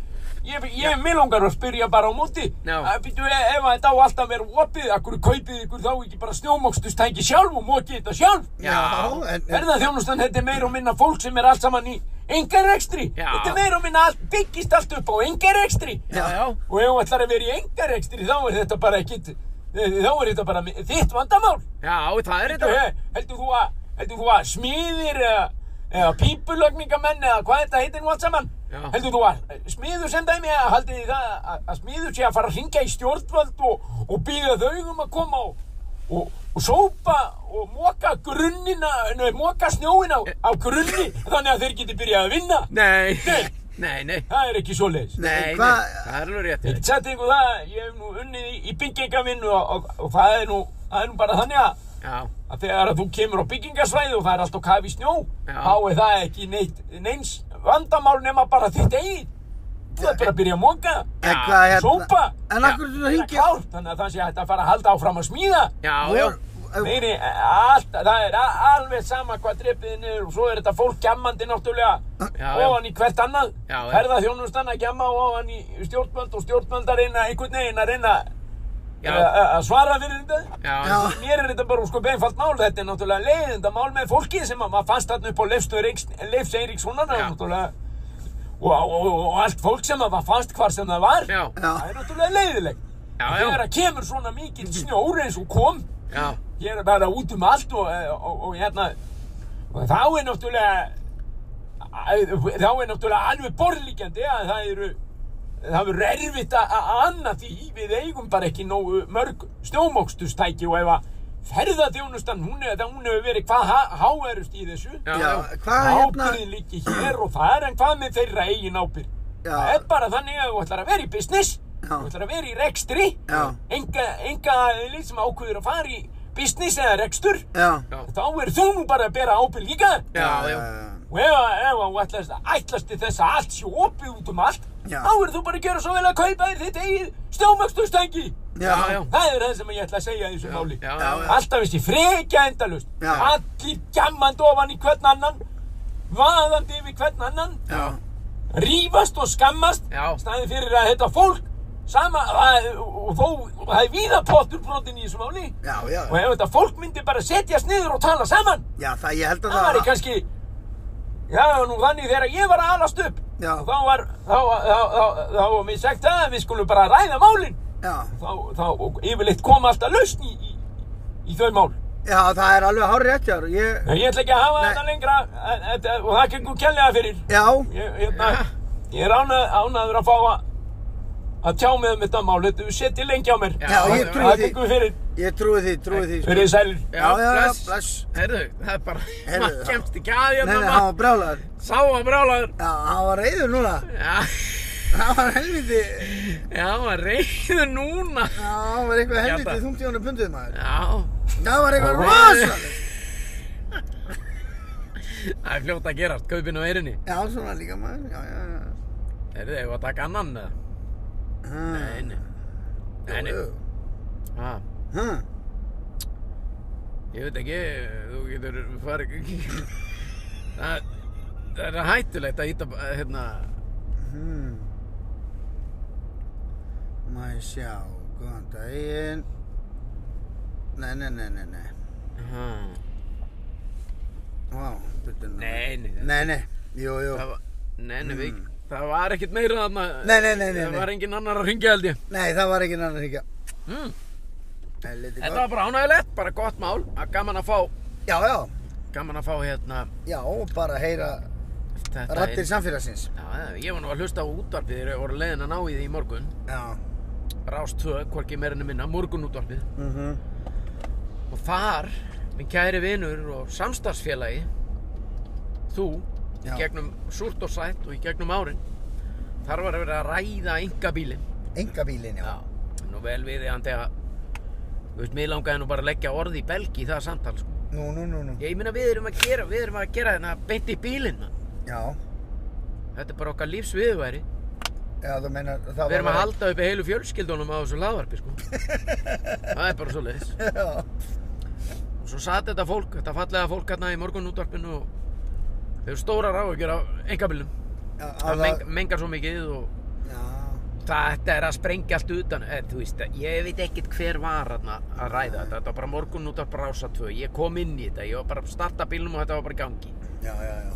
Speaker 5: Ég, ég mér langar að spyrja bara á móti
Speaker 1: Já.
Speaker 5: að býtu ef ef að þetta á alltaf að vera opið akkur kaupið ykkur þá ekki bara snjómokstustæki sjálf og mókið þetta sjálf
Speaker 1: Já.
Speaker 2: en,
Speaker 1: Eh.
Speaker 2: en
Speaker 5: Ferðarþjónustan, þetta er meira og minna fólk sem er allt saman í engarekstri.
Speaker 1: Já.
Speaker 5: Þetta er meira og minna allt, byggist allt upp á engarekstri.
Speaker 1: já, já,
Speaker 5: Og ef þú ætlar að vera í engarekstri, þá er þetta bara ekkit, eh, þá er þetta bara þitt vandamál.
Speaker 1: já, það er
Speaker 5: Þú,
Speaker 1: þetta.
Speaker 5: eh, Heldur þú að, heldur þú að smiðir eða, eða pípulögningamenn eða hvað þetta heitir nú allt saman?
Speaker 1: Já.
Speaker 5: Heldur þú að eh, smiður sem dæmi að haldið þið það að- að, að smiður sé að fara að ringja í stjórnvöld og, og býða þau um að koma og, og, og sópa og moka grunnina, nefnir moka snjóin á, á grunni þannig að þeir geti byrjað að vinna.
Speaker 1: Nei,
Speaker 5: Nei.
Speaker 1: nei, nei,
Speaker 5: Það er ekki svo leiðis.
Speaker 1: nei, nei,
Speaker 2: hvað-
Speaker 1: það er alveg rétt. hjá
Speaker 5: Ég get
Speaker 1: þér.
Speaker 5: sagt ykkur það, ég hef nú unnið í, í byggingavinnu og, og, og það, er nú, það er nú bara þannig að
Speaker 1: Já,
Speaker 5: að þegar að þú kemur á byggingasvæði og það er allt á kafi í snjó
Speaker 1: Já.
Speaker 5: þá er það ekki neitt, neins vandamál nema bara þitt eigin þú er bara að byrja að móka
Speaker 2: En hvað hérna?
Speaker 5: sópa.
Speaker 2: En akkur er þetta að hringja?
Speaker 5: klárt, þannig að það sé hægt að fara að halda áfram að smíða
Speaker 1: já, já,
Speaker 2: Vor- ef-
Speaker 5: Meiri, allt, það er a- alveg sama hvað drepið er niður og svo er þetta fólk gjammandi náttúrulega
Speaker 1: Já, já.
Speaker 5: ofan í hvert annað
Speaker 1: Já, já.
Speaker 5: ferða þjónustann að gjamma og ofan í stjórnvöld og stjórnvöld að reyna einhvern veginn að reyna
Speaker 1: Já.
Speaker 5: að að svara fyrir þetta
Speaker 1: já,
Speaker 2: Já.
Speaker 5: Mér er þetta bara sko beinfalt mál, þetta er náttúrulega leiðinda mál með fólki sem að maður fannst þarna upp á Leifs Eiríkssonar
Speaker 1: Já.
Speaker 5: náttúrulega og, og, og, og allt fólk sem að maður fannst hvar sem það var,
Speaker 1: já,
Speaker 2: Já.
Speaker 5: það er náttúrulega leiðilegt.
Speaker 1: Já, já.
Speaker 5: Þegar að kemur svona mikill snjór eins og kom,
Speaker 1: já,
Speaker 5: ég er bara út um allt og, og, og, og hérna, og þá er náttúrulega, þá er náttúrulega alveg borðlíkjandi að það eru, það verður erfitt að að anna því við eigum bara ekki nógu mörg snjómókstustæki og ef að ferðaþjónustan, hún, er, hún hefur verið hvað há- háærust í þessu
Speaker 1: já,
Speaker 2: Já,
Speaker 1: já,
Speaker 2: hvað hérna?
Speaker 5: ábyrðin líki hér og þar en hvað með þeirra eigin ábyrð
Speaker 2: Já.
Speaker 5: það er bara þannig að þú ætlar að vera í business
Speaker 2: Já.
Speaker 5: þú ætlar að vera í rekstri
Speaker 2: Já.
Speaker 5: enga, enga aðeins sem ákveður að fara í business eða rekstur
Speaker 2: Já.
Speaker 1: Já.
Speaker 5: þá er þú nú bara að bera ábyrð líka
Speaker 1: já, já,
Speaker 5: og ef, að- ef að þú ætlast, ætlast til þess að allt sé opið út um allt
Speaker 2: Já.
Speaker 5: þá er þú bara að gera svo vel að kaupa þér þitt eigið stjómaksturstængi
Speaker 1: já, já.
Speaker 5: það er það sem ég ætla að segja í þessu máli
Speaker 1: já, já, já.
Speaker 5: alltaf þessi frekja endalust
Speaker 2: Já.
Speaker 5: allir gjammandi ofan í hvern annan vaðandi yfir hvern annan
Speaker 2: Já.
Speaker 5: rífast og skammast
Speaker 1: Já.
Speaker 5: staðið fyrir að þetta fólk sama, að, og þó og það er víða pottur brotin í þessu máli
Speaker 2: Já, já,
Speaker 5: og hérna- ef þetta fólk myndi bara setjast niður og tala saman
Speaker 2: já, það ég held að
Speaker 5: það var
Speaker 2: það
Speaker 5: í kannski já nú þannig þegar ég var að alast upp
Speaker 2: Já.
Speaker 5: þá var þá, þá, þá, þá, þá var mér sagt það að við skulum bara ræða málin
Speaker 2: Já,
Speaker 5: þá, þá og yfirleitt kom alltaf lausn í, í, í þau mál
Speaker 2: já, það er alveg hár rétt hjá ég,
Speaker 5: Nei, Ég ætla ekki að hafa
Speaker 2: Nei.
Speaker 5: þetta lengra en- en- en- og það gengur kjærlega fyrir.
Speaker 2: Já,
Speaker 5: Ég, hérna, ég er ánað, ánaður að fá að, að tjá mig um þetta mál. Þetta við setjið lengi á mér.
Speaker 1: Já,
Speaker 2: Já, ég
Speaker 5: Það-
Speaker 2: trúi
Speaker 5: Það
Speaker 2: því.
Speaker 5: gengur fyrir,
Speaker 2: ég trúi því, trúi því sko.
Speaker 5: fyrir sælir.
Speaker 2: Já, já, já,
Speaker 1: bless.
Speaker 2: bless
Speaker 1: Herðu, það er bara,
Speaker 2: Heyrðu,
Speaker 1: maður
Speaker 2: já.
Speaker 1: kemst ekki að
Speaker 2: Nei,
Speaker 1: hérna,
Speaker 2: nei, hann
Speaker 1: maður
Speaker 2: var brálaður
Speaker 1: sá að brálaður.
Speaker 2: Já, hann var reyður núna
Speaker 1: Já,
Speaker 2: Hann var helviti
Speaker 1: já, maður reyður núna.
Speaker 2: Já, hann var eitthvað helviti
Speaker 1: bara-
Speaker 2: þungt í honum pundið maður
Speaker 1: Já,
Speaker 2: Það var eitthvað
Speaker 5: Já,
Speaker 2: rosalega
Speaker 1: það er fljótt að gerast, kaupin á eirinni.
Speaker 2: Já, svona líka maður, já, já, já
Speaker 1: Herðu, eigum við að taka annan eða?
Speaker 2: Hmm,
Speaker 1: Nei, nei. Nei, nei.
Speaker 2: jú, jú.
Speaker 1: Ha,
Speaker 2: Hmm,
Speaker 1: ég veit ekki, þú getur farið... það, það er hættulegt að íta, hérna...
Speaker 2: hmm. Má ég sjá, góðan daginn Nei, nei, nei, nei, nei
Speaker 1: Ha,
Speaker 2: Vá, byrju nú.
Speaker 1: nei, nei.
Speaker 2: Nei, nei, jú, jú
Speaker 1: Það var, nei, nei, við, það var ekkert meira þarna.
Speaker 2: Nei, nei, nei, nei,
Speaker 1: Það
Speaker 2: nei.
Speaker 1: var engin annar að ringja held ég.
Speaker 2: Nei, það var ekki annar hringja
Speaker 1: Mm.
Speaker 2: Helviti
Speaker 1: Þetta
Speaker 2: gott.
Speaker 1: var bara ánægilegt, bara gott mál að Gaman að fá,
Speaker 2: Já, já,
Speaker 1: gaman að fá hérna
Speaker 2: já, og bara heyra
Speaker 1: þetta
Speaker 2: rattir
Speaker 1: inn.
Speaker 2: samfélagsins.
Speaker 1: Já, já, ég var nú að hlusta á útvarpið þegar ég voru leiðin að ná í því í morgun
Speaker 2: Já,
Speaker 1: Rás 2, hvorki meirinu minna, morgun útvarpið
Speaker 2: mhm,
Speaker 1: Og þar, minn kæri vinur og samstarfsfélagi Þú, í
Speaker 2: Já.
Speaker 1: gegnum súrt og sætt og í gegnum árin Þar var að vera að ræða enga bílinn
Speaker 2: enga bílinn, já.
Speaker 1: Já, nú vel við hann þegar Þú veist, mér langaði nú bara að leggja orði í belgi í það samtal sko.
Speaker 2: Nú, nú, nú, nú.
Speaker 1: Ég meina við erum að gera, við erum að gera þarna beint í bílinn
Speaker 2: Já,
Speaker 1: Þetta er bara okkar lífsviðværi
Speaker 2: já, þú meinar, það var...
Speaker 1: Við erum að halda uppi heilu fjölskyldunum á þessu laðvarpi sko. Það er bara svo leiðis
Speaker 2: Já,
Speaker 1: Og svo satt þetta fólk, þetta fallega fólk hérna í morgunútvarpinu og þau eru stórar áhugjur af engabillum
Speaker 2: já,
Speaker 1: Það
Speaker 2: að-
Speaker 1: meng, mengar svo mikið og
Speaker 2: Já,
Speaker 1: Þetta er að sprengja allt utan, eh, þú veist, ég veit ekkert hver var þarna að ræða þetta, þetta var bara morgun út af brása tvö, ég kom inn í þetta, ég var bara að starta bílnum og þetta var bara í gangi.
Speaker 2: já, já, já.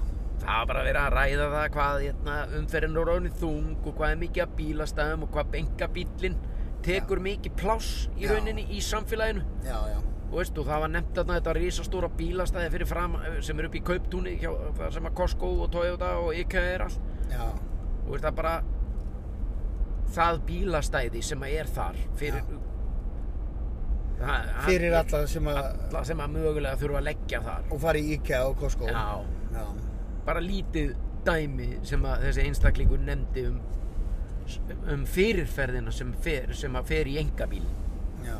Speaker 1: Það var bara að vera að ræða það hvað hérna, umferðin er orðin þung og hvað er mikið af bílastæðum og hvað benga bílinn tekur mikið pláss í
Speaker 2: Já.
Speaker 1: rauninni í samfélaginu.
Speaker 2: Já, já.
Speaker 1: Og veist, og það var nefnt þarna þetta risastóra bílastæði fyrir fram sem er upp í Kauptúni, hjá, þar sem að Costco og Toyota og IKEA er allt
Speaker 2: Já,
Speaker 1: og veist það bara það bílastæði sem að er þar fyrir það,
Speaker 2: fyrir alla sem að...
Speaker 1: alla sem að mögulega þurfa að leggja þar
Speaker 2: Og fara í IKEA og Costco.
Speaker 1: já,
Speaker 2: Já,
Speaker 1: bara lítið dæmi sem að þessi einstaklingur nefndi um um fyrirferðina sem fer, sem að fer í engabíl
Speaker 2: já.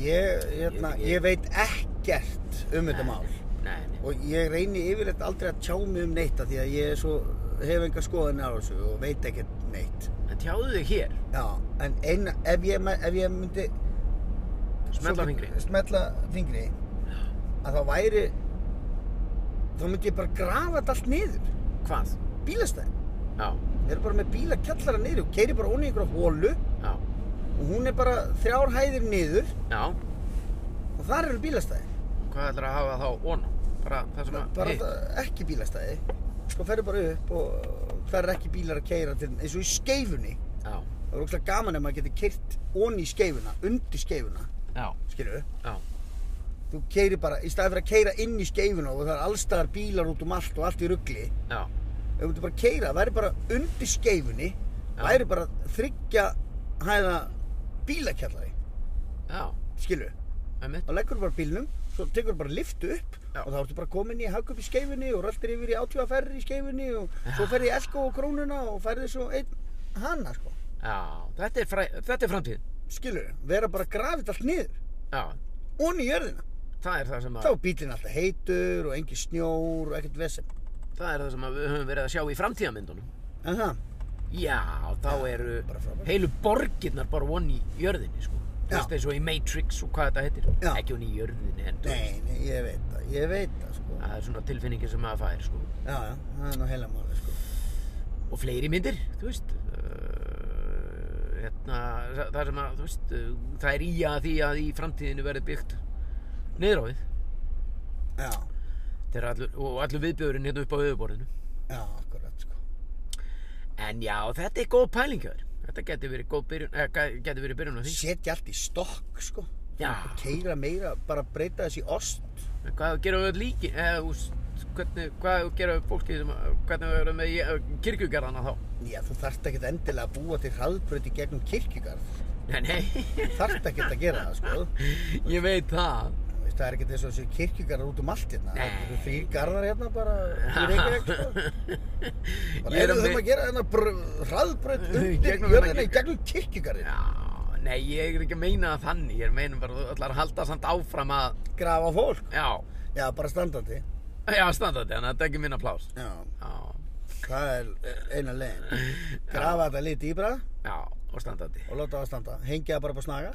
Speaker 2: Ég, hérna,
Speaker 1: Ég- ég-
Speaker 2: ég veit ekkert um þetta mál.
Speaker 1: nei, nei.
Speaker 2: Og ég reyni yfirleitt aldrei að tjá mig um neitt af því að ég er svo, hef enga skoðin á þessu og veit ekkert neitt.
Speaker 1: en tjáðu þig hér,
Speaker 2: Já, en eina, ef ég, me- ef ég myndi...
Speaker 1: smetla fingri
Speaker 2: Smetla fingri. Að þá væri... Þá myndi ég bara grafa þetta allt niður.
Speaker 1: hvað?
Speaker 2: Bílastæði.
Speaker 1: já,
Speaker 2: Við erum bara með bílakjallara niður og keiri bara onni í einhverja hólu
Speaker 1: já,
Speaker 2: og hún er bara þrjár hæðir niður
Speaker 1: já
Speaker 2: og þar eru bílastæði.
Speaker 1: hvað ætlar að hafa þá ona? bara það sem að
Speaker 2: Bara
Speaker 1: hitt.
Speaker 2: það, ekki bílastæði. Sko ferðu bara upp og það eru ekki bílar að keira til eins og í skeifunni.
Speaker 1: já,
Speaker 2: Það er ógslag gaman ef maður getur keirt onni í skeifuna, undir skeifuna,
Speaker 1: já,
Speaker 2: skilju.
Speaker 1: já,
Speaker 2: Þú keiri bara, í staði fyrir að keira inn í skeifuna og það er allstaðar bílar út um allt og allt í ruggli.
Speaker 1: já
Speaker 2: Ef þú myndir bara keira, væri bara undir skeifunni,
Speaker 1: Já.
Speaker 2: væri bara þryggja hæða bílakjallari,
Speaker 1: já,
Speaker 2: skilju.
Speaker 1: einmitt
Speaker 2: þá leggur þú bara bílnum, svo tekur þú bara liftu upp
Speaker 1: Já.
Speaker 2: og þá ertu bara komin í hagkaup í skeifunni og röltir yfir í átjóðaferri í skeifunni og svo ferði í Elko og Krónuna og ferði svo einn hana sko.
Speaker 1: Já, þetta er, fræ, þetta er framtíð
Speaker 2: Skilur, vera bara grafið allt niður
Speaker 1: Já,
Speaker 2: onni í jörðina.
Speaker 1: það er það sem að
Speaker 2: Þá er bílinn alltaf heitur og engin snjór og ekkert vesen.
Speaker 1: það er það sem að við höfum verið að sjá í framtíðamyndunum
Speaker 2: En það,
Speaker 1: Já, þá eru
Speaker 2: bara frábært.
Speaker 1: heilu borgirnar bara von í jörðinni sko. Þú
Speaker 2: Já.
Speaker 1: veist eins og í Matrix og hvað þetta heitir
Speaker 2: Já.
Speaker 1: Ekki von í jörðinni en þú veist
Speaker 2: nei, nei, ég veit það, ég veit það sko.
Speaker 1: Það er svona tilfinningin sem maður fær sko.
Speaker 2: Já, já, það er nú heila málið sko.
Speaker 1: Og fleiri myndir, þú veist uh, hérna, Það sem að, þú veist uh, Það er í að því að í framtíðinu verði byggt niður á við
Speaker 2: Já,
Speaker 1: Þetta er allur, Og allur viðbjörinn hérna upp á höfuborðinu
Speaker 2: já, akkurat sko.
Speaker 1: En já, þetta er góð pælingjör. Þetta getur verið góð byrjun, eh, getur verið byrjun á því.
Speaker 2: Setja allt í stokk sko.
Speaker 1: Já.
Speaker 2: Og keira meira, bara breyta þessi ost.
Speaker 1: En hvað ef við gerum við öll líki, eða úst, hvernig, hvað ef við gerum við fólki sem, hvernig við verðum með í- eh, kirkjugarðana þá?
Speaker 2: Já, þú þarft ekkert endilega að búa til hraðbröð í gegnum kirkjugarð.
Speaker 1: Nei, nei,
Speaker 2: Þú þarft ekkert að gera það, sko.
Speaker 1: ég veit það.
Speaker 2: Þú veist, það er ekkert eins og þessu kirkjugarðar út um allt hérna.
Speaker 1: Nei.
Speaker 2: Það eru þrýr garðar hérna bara í Reykjavík, sko. Bara
Speaker 1: Ég er
Speaker 2: erum
Speaker 1: með-
Speaker 2: þurfum að gera þennan hraðbröð
Speaker 1: Í
Speaker 2: undir
Speaker 1: gegnum
Speaker 2: jörðina
Speaker 1: þennan
Speaker 2: í gegnum kirkjugarðin.
Speaker 1: Já, nei, ég er ekki að meina það þannig, ég er að meina bara að þú ætlar að halda samt áfram að,
Speaker 2: Grafa fólk.
Speaker 1: já,
Speaker 2: Já, bara standandi.
Speaker 1: já, standandi, þannig að þetta er ekki minna plás.
Speaker 2: Já,
Speaker 1: Já,
Speaker 2: það er eh, eina leiðin. Grafa þetta litið dýbra
Speaker 1: já, og standandi.
Speaker 2: og láta það standa. Hengja það bara upp á snaga.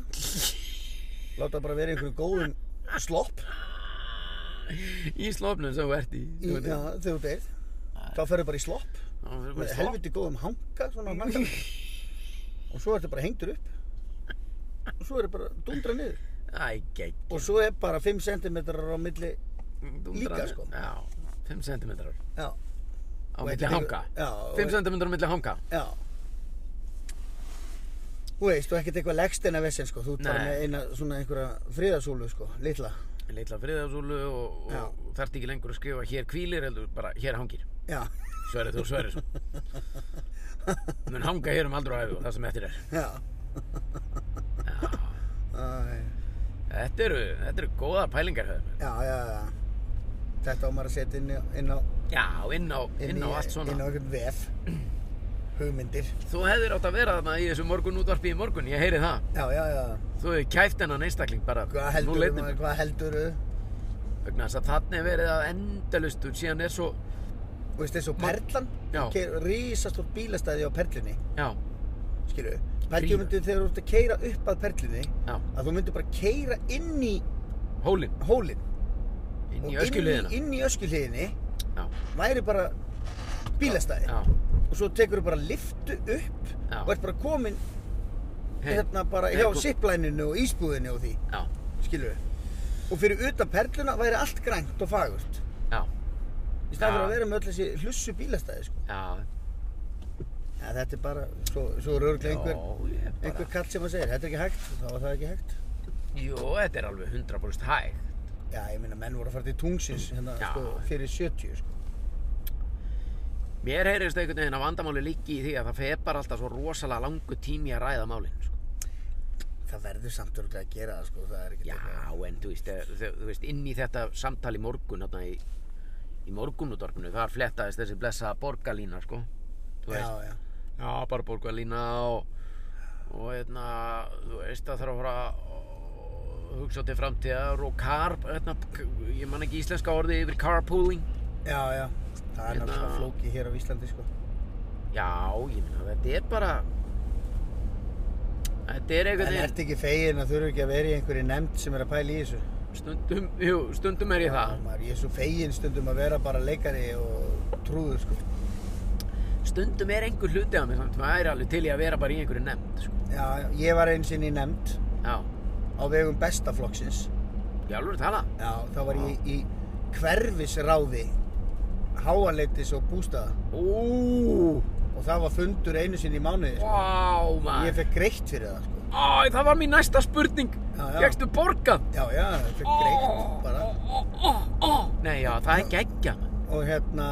Speaker 2: Láta það bara vera í einhverjum góðum slopp.
Speaker 1: Í slofnum sem þú ert í.
Speaker 2: Í, já, þegar þú deyr. Þá ferðu bara í slopp. með
Speaker 1: Helviti.
Speaker 2: helviti góðum hanga svona á nakanum. og svo ertu bara hengdur upp og svo er bara dundra niður
Speaker 1: Æ, gegg.
Speaker 2: og svo er bara 5 cm á milli Líka, sko.
Speaker 1: Já, 5 cm á
Speaker 2: já,
Speaker 1: milli
Speaker 2: þetta er-
Speaker 1: hanga
Speaker 2: já, og-
Speaker 1: 5 cm á milli hanga
Speaker 2: já þú veist, og ekkert eitthvað leggsteina vessin sko, þú ert bara
Speaker 1: Nei.
Speaker 2: með eina svona einhverja friðasúlu sko, litla
Speaker 1: Leitla friðasúlu og,
Speaker 2: Já.
Speaker 1: og þarft ekki lengur að skrifa hér kvílir heldur bara hér hangir.
Speaker 2: já,
Speaker 1: Sverrið Þór Sverrisson. Mun hanga hér um aldur og æfi og það sem eftir er.
Speaker 2: já Æ,
Speaker 1: Þetta eru, þetta eru góða pælingar höfðum.
Speaker 2: já, já, já þetta á maður að setja inn, á- inn á
Speaker 1: Já, inn á, inn á
Speaker 2: í-
Speaker 1: allt svona.
Speaker 2: inn á einhvern vef hugmyndir,
Speaker 1: Þú hefðir átt að vera þarna í þessu morgun útvarpi í morgun, ég heyri það.
Speaker 2: já, já, já
Speaker 1: Þú hefur kæft hennan einstakling bara.
Speaker 2: hvað
Speaker 1: Nú
Speaker 2: heldur um
Speaker 1: leitni
Speaker 2: maður, hvað heldur
Speaker 1: vegna þess að þarna er verið að endalust og síðan er svo,
Speaker 2: þú veist, þessu perlan
Speaker 1: Já.
Speaker 2: rísast úr bílastæði á perlinni
Speaker 1: já,
Speaker 2: skilu, perlum myndi þegar þú ert að keira upp að perlinni
Speaker 1: já,
Speaker 2: að þú myndir bara keira inn í
Speaker 1: hólinn,
Speaker 2: hólinn
Speaker 1: inn
Speaker 2: og
Speaker 1: í öskuliðina.
Speaker 2: inn í öskuliðinni
Speaker 1: Já,
Speaker 2: væri bara bílastæði
Speaker 1: já,
Speaker 2: og svo tekur þú bara liftu upp
Speaker 1: Já.
Speaker 2: og ert bara komin
Speaker 1: Hey.
Speaker 2: hérna bara
Speaker 1: Hey,
Speaker 2: hjá
Speaker 1: kom-
Speaker 2: ziplæninu og ísbúðinu og því,
Speaker 1: já,
Speaker 2: skilur við og fyrir utan perluna væri allt grænt og fagurt
Speaker 1: já,
Speaker 2: í staðan
Speaker 1: Já.
Speaker 2: fyrir að vera með öll þessi hlussu bílastæði sko.
Speaker 1: já,
Speaker 2: ja, þetta er bara, svo, svo er örglega einhver
Speaker 1: já, ég bara,
Speaker 2: einhver kall sem að segja, þetta er ekki hægt þá var það ekki hægt
Speaker 1: jú, þetta er alveg 100% hæg.
Speaker 2: já, ég meina, menn voru að fara til tungsins hérna,
Speaker 1: Já.
Speaker 2: sko, fyrir 70 sko.
Speaker 1: Mér heyrðist einhvern veginn að vandamáli líki í því að það fepar alltaf svo rosalega langu tími að ræða málinn, sko.
Speaker 2: það verður samt örglega að gera það, sko. það er ekki
Speaker 1: Já, en þú veist, eh, þau- þú veist, inn í þetta samtal í morgun, þarna í, í morgunútvarpinu, þar flettaðist þessi blessaða borgarlína, sko. Þú veist,
Speaker 2: já, já,
Speaker 1: Já, bara borgarlína og, og hérna, þú veist að þarf að fara að hugsa til framtíðar og car, hérna, k- ég man ekki íslenska orði yfir carpooling.
Speaker 2: já, já það er
Speaker 1: Hérna-
Speaker 2: náttúrulega flókið hér á Íslandi sko.
Speaker 1: Já, ég meina, þetta er bara, þetta er
Speaker 2: en
Speaker 1: einhvern veginn,
Speaker 2: ert ekki fegin að þurfa ekki að vera í einhverju nefnd sem er að pæla í þessu
Speaker 1: stundum, jú, stundum er ég það,
Speaker 2: maður, ég er svo fegin stundum að vera bara leikari og trúður sko.
Speaker 1: stundum er einhver hluti af mig samt, maður er alveg til í að vera bara í einhverju nefnd, sko.
Speaker 2: já, já, ég var eins inn í nefnd
Speaker 1: Já,
Speaker 2: á vegum bestaflokksins
Speaker 1: ég alveg tala,
Speaker 2: já, þá var ég í hverfisráði háaleitis og bústaða
Speaker 1: úúúú,
Speaker 2: og það var fundur einu sinni í mánuði sko.
Speaker 1: vá,
Speaker 2: ég
Speaker 1: maður,
Speaker 2: fekk greitt fyrir það sko.
Speaker 1: Æ, það var mín næsta spurning,
Speaker 2: Já, já.
Speaker 1: fegstu borgað?
Speaker 2: já, já, ég fekk greitt bara
Speaker 1: Nei, já, það er geggja
Speaker 2: og hérna